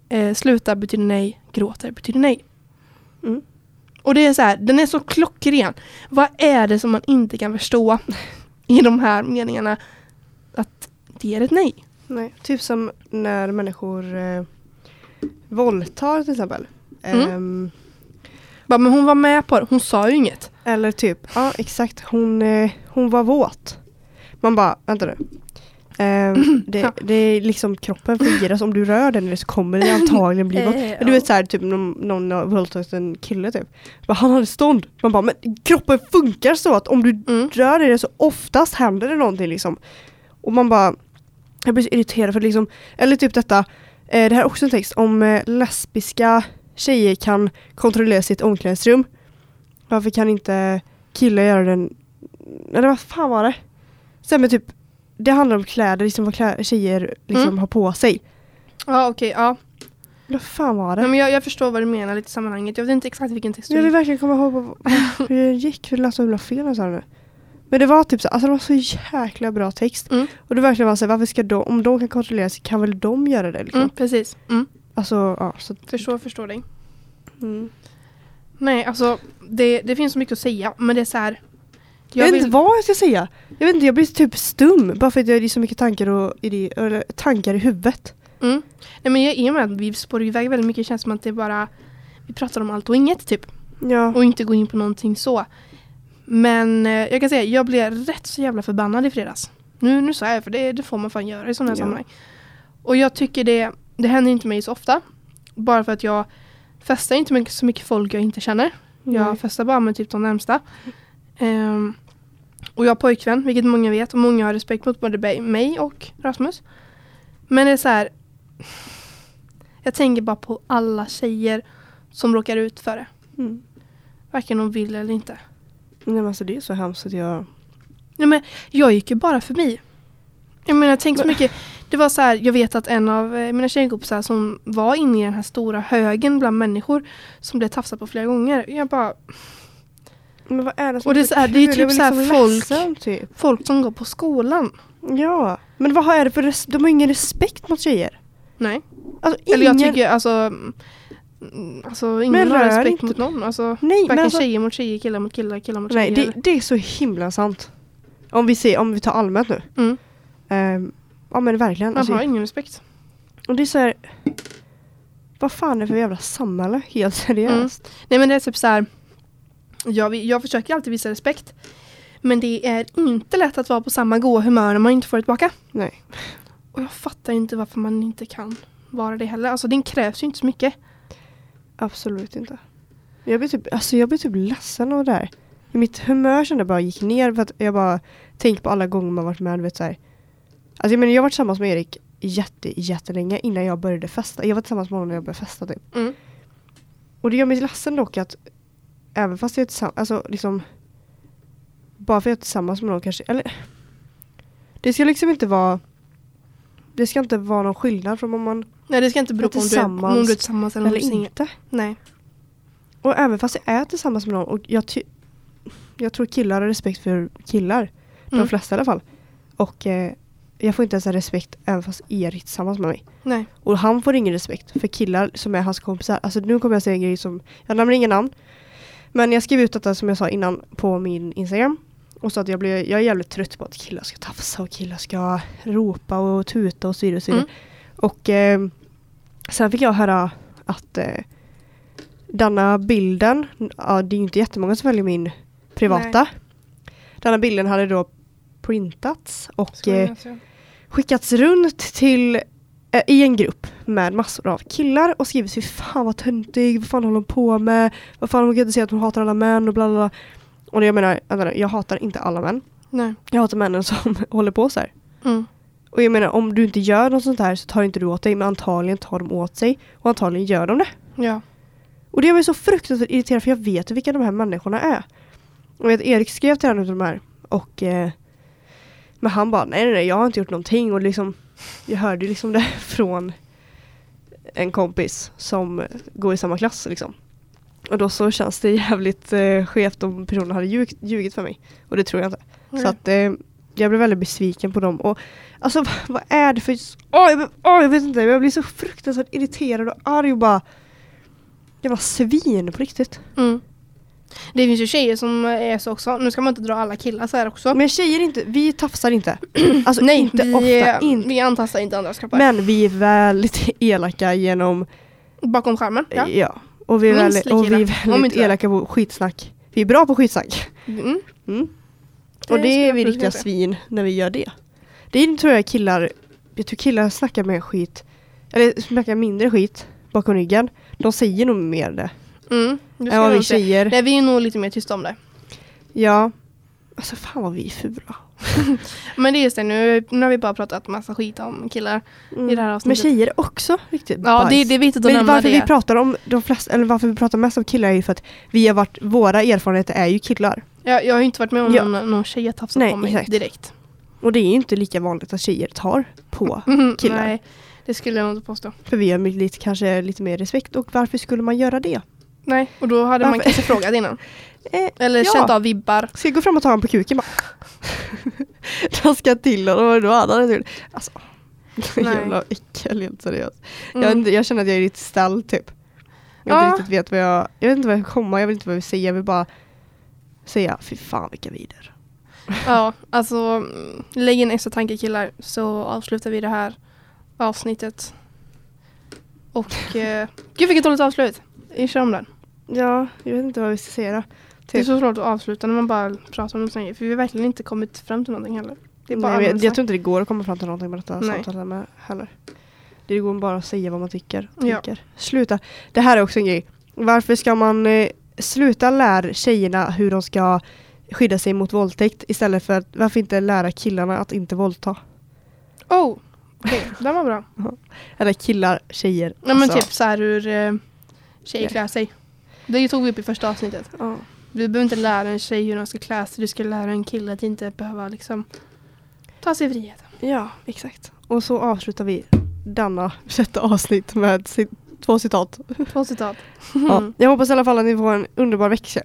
Eh, sluta betyder nej. Gråta betyder nej.
Mm.
Och det är så här, den är så klockren. Vad är det som man inte kan förstå i de här meningarna? Att det är ett nej.
nej. Typ som när människor eh, våldtar till exempel.
Mm.
Ehm,
Bara, men hon var med på det. Hon sa ju inget.
Eller typ, ja exakt, hon, eh, hon var våt. Man bara, vänta nu. Ehm, det,
Ja.
det är liksom kroppen fungerar, så om du rör den så kommer det antagligen bli våt.
Eh,
Men du vet såhär, typ någon, någon har våldtagit en kille typ. Bara, han hade stånd. Man bara, men kroppen funkar så att om du
Mm.
rör i det så oftast händer det någonting liksom. Och man bara, jag blir så irriterad för liksom, eller typ detta, eh, det här är också en text om eh, lesbiska tjejer kan kontrollera sitt omklädningsrum. Varför kan inte killar göra den, eller vad fan var det? Sen med typ, det handlar om kläder, liksom vad klä, tjejer liksom
Mm.
har på sig.
Ja okej, ja.
Vad fan var det?
Nej, men jag, jag förstår vad du menar lite i sammanhanget. Jag vet inte exakt vilken text
Jag vill
du...
verkligen komma ihåg vad- vad- hur det gick, hur det lät så himla fel och så här nu. Men det var typ så, alltså det var så jäkla bra text.
Mm.
Och det verkligen var så här, varför ska de, om de kan kontrollera sig kan väl de göra det liksom?
Mm, precis. Mm.
Alltså, ja. Så,
Förstår, förstår dig.
mm.
Nej, alltså det, det finns så mycket att säga, men det är så här.
Jag
Jag
vet inte
vill,
vad jag ska säga. Jag vet inte, jag blir typ stum bara för att jag har så mycket tankar, och idé, eller, tankar i huvudet.
mm, nej, men jag, i och med att vi spårar iväg väldigt mycket känns det som att det är bara vi pratar om allt och inget typ
Ja.
och inte går in på någonting så. Men eh, jag kan säga, jag blev rätt så jävla förbannad i fredags. Nu, nu sa jag för det, det får man fan göra i sådana här
Ja.
sammanhang. Och jag tycker det, det händer inte mig så ofta. Bara för att jag festar inte med så mycket folk jag inte känner. Jag
Nej.
festar bara med typ de närmsta. Ehm, och jag har pojkvän, vilket många vet. Och många har respekt mot både be- mig och Rasmus. Men det är så här. Jag tänker bara på alla tjejer som råkar ut för det.
Mm.
Varken de vill eller inte.
Nej men alltså det är så hemskt att jag...
Nej, men jag gick ju bara förbi. Jag menar, tänk så mycket. Det var så här, jag vet att en av eh, mina tjejkompisar som var inne i den här stora högen bland människor som blev tafsad på flera gånger. Jag bara,
Men vad är det som
Och det är så här, det är ju
kul?
typ
blir
så här
liksom
folk-
ledsen, typ.
folk som går på skolan.
Ja. Men vad är det för res- De har ingen respekt mot tjejer.
Nej.
Alltså
Eller jag
ingen-
tycker alltså, mm, alltså ingen
Men
har
rör
respekt
inte-
mot någon. Alltså,
Nej, men
varken
alltså-
tjejer mot tjejer, killar mot killar, killar mot
Nej,
tjejer.
det, det är så himla sant. Om vi, ser, om vi tar allmänt nu.
mm.
Ehm, ja men verkligen.
Man
Alltså,
har ingen respekt.
och det är så här... Vad fan är det för jävla samhälle? Helt seriöst.
Nej men det är typ så här. Jag, vi- jag försöker alltid visa respekt. Men det är inte lätt att vara på samma goa humör när man inte får det tillbaka.
Nej.
Och jag fattar inte varför man inte kan vara det heller. Alltså det krävs ju inte så mycket.
Absolut inte. Jag blir typ, alltså jag blir typ ledsen av det här. Mitt humör kände jag bara gick ner för att jag bara tänkte på alla gånger man varit med. du Vet, så här. Alltså jag menar jag har varit tillsammans med Erik jätte, jättelänge innan jag började festa. Jag var tillsammans med honom när jag började festa typ.
Mm.
Och det gör mig ledsen dock att även fast jag är tillsammans, alltså liksom bara för att jag är tillsammans med någon kanske, eller det ska liksom inte vara det ska inte vara någon skillnad från om man
Nej det ska inte bero på om du, är, om
Tillsammans
du är tillsammans eller om du
eller
är singel.
inte.
Nej.
Och även fast jag är tillsammans med någon och jag, ty- jag tror killar har respekt för killar.
Mm.
De flesta i alla fall. Och eh, jag får inte ens en respekt även fast Erik är tillsammans med mig.
Nej.
Och han får ingen respekt för killar som är hans kompisar. Alltså nu kommer jag säga en grej som, jag nämner inga namn. Men jag skrev ut detta som jag sa innan på min Instagram. Och så att jag, blev, jag är jävligt trött på att killar ska tafsa och killar ska ropa och tuta och så vidare. Och, så vidare.
Mm.
och eh, sen fick jag höra att eh, denna bilden, ja, det är ju inte jättemånga som följer min privata. Denna bilden hade då printats och eh, skickats runt till eh, i en grupp med massor av killar och skrivit fy fan vad töntig, vad fan håller hon på med, vad fan hon kan inte säga att hon hatar alla män och bla bla bla. Och det, jag menar, jag menar, jag hatar inte alla män.
Nej.
Jag hatar männen som håller på så här.
Mm.
Och jag menar om du inte gör något sånt här så tar inte du åt dig men antagligen tar de åt sig och antagligen gör de det.
Ja.
Och det gör mig så fruktansvärt irriterad för jag vet vilka de här människorna är. Och jag vet, Erik skrev till en av de här och eh, men han bara nej, nej nej jag har inte gjort någonting och liksom jag hörde ju liksom det från en kompis som eh, går i samma klass liksom. Och då så känns det jävligt eh, skevt om personen hade ljug, ljugit för mig. Och det tror jag inte. Så att eh, jag blev väldigt besviken på dem. Och alltså vad, vad är det för... Åh, jag, åh, jag vet inte, jag blir så fruktansvärt irriterad och arg och bara... Jag var svin på riktigt.
Mm. Det finns ju tjejer som är så också. Nu ska man inte dra alla killar så här också.
Men tjejer inte, vi tafsar inte. Alltså
Nej,
inte
vi,
ofta. Inte.
vi antastar inte andras kroppar.
Men vi är väldigt elaka genom...
Bakom skärmen,
Ja.
ja.
Och vi är
Minst
väldigt,
lika
och vi är
elaka, om
väldigt
inte värre.
elaka på skitsnack. Vi är bra på skitsnack.
Mm.
Mm. och det
skulle
är
jag
vi
absolut
riktiga
säga.
svin när vi gör det. Det är, tror jag killar, jag tror killar snackar mer skit, eller snackar mindre skit bakom ryggen. De säger nog mer det
Mm. det skulle
typ. än vad
jag
vi
nog säga.
tjejer.
Nej, vi är nog lite mer tysta om det.
Ja. Alltså fan vad vi är fula.
Men det är just det, nu, nu har vi bara pratat massa skit om killar.
Mm.
I det här
Men
avsnittet.
tjejer är också riktigt
Ja,
bajs.
det, det är viktigt att
Men
nämna
varför vi
det.
pratar om de flesta, eller varför vi pratar mest om killar är ju för att vi har varit, våra erfarenheter är ju killar.
Jag, jag har ju inte varit med om
Ja.
någon, någon tjej har tafsat
Nej,
på mig
exakt.
direkt.
Och det är ju inte lika vanligt att tjejer tar på.
Mm,
Killar.
Nej, det skulle jag inte påstå.
För vi har med lite, kanske lite mer respekt och varför skulle man göra det?
Nej, och då hade man
Varför?
kanske frågat innan.
Eh,
Eller
Ja.
känt av vibbar.
Ska jag gå fram och ta honom på kuken bara? De ska till honom och då hade han till. Alltså.
Nej.
Jävla äckel helt seriöst.
Mm.
Jag, vet inte- jag känner att jag är lite ställd typ. Jag
Ja.
inte riktigt vet vad jag, jag vet inte vad jag kommer, jag vet inte vad jag vill säga. Jag vill bara säga, fy fan vilka vider.
Ja, alltså mm, lägg in extra tanke killar så avslutar vi det här avsnittet. Och eh, gud vilket dåligt avslut. Vi kör om den.
Ja, jag vet inte vad vi ska säga då.
Det är
Typ.
så svårt att avsluta när man bara pratar om sånt För vi har verkligen inte kommit fram till någonting heller. Det är bara
Nej, jag,
allmänt
jag tror inte det går att komma fram till någonting med detta
Nej.
samtalet med heller. Det går bara att säga vad man tycker. och
Ja.
tänker. Sluta. Det här är också en grej. Varför ska man eh, sluta lära tjejerna hur de ska skydda sig mot våldtäkt istället för att varför inte lära killarna att inte våldta?
Oh, okej, den var bra.
Eller killar, tjejer.
Nej men
alltså.
typ så här hur eh, tjejer
Ja.
klär sig. Det tog vi upp i första avsnittet.
Ja.
Du behöver inte lära en tjej hur den ska klä sig. Du ska lära en kille att inte behöva liksom ta sig frihet.
Ja, exakt. Och så avslutar vi denna sjätte avsnitt med ci- två citat.
Två citat.
Ja. Jag hoppas i alla fall att ni får en underbar, vecka,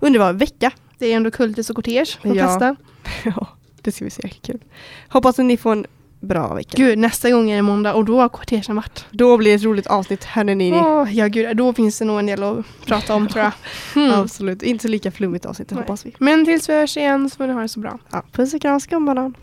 underbar vecka.
Det är ändå Kultis och Kortege på
Ja.
testa.
Ja, det ska vi se. Kul. Hoppas att ni får en bra vecka.
Gud, nästa gång är det måndag och då har kortegen varit.
Då blir det ett roligt avsnitt, hörni ni.
Åh, ja gud, då finns det nog en del att prata om tror jag. Mm.
Absolut, inte så lika flummigt avsnitt, det
Nej.
hoppas vi.
Men tills vi hörs igen så får ni ha det så bra.
Ja, puss och kram, skumbanan.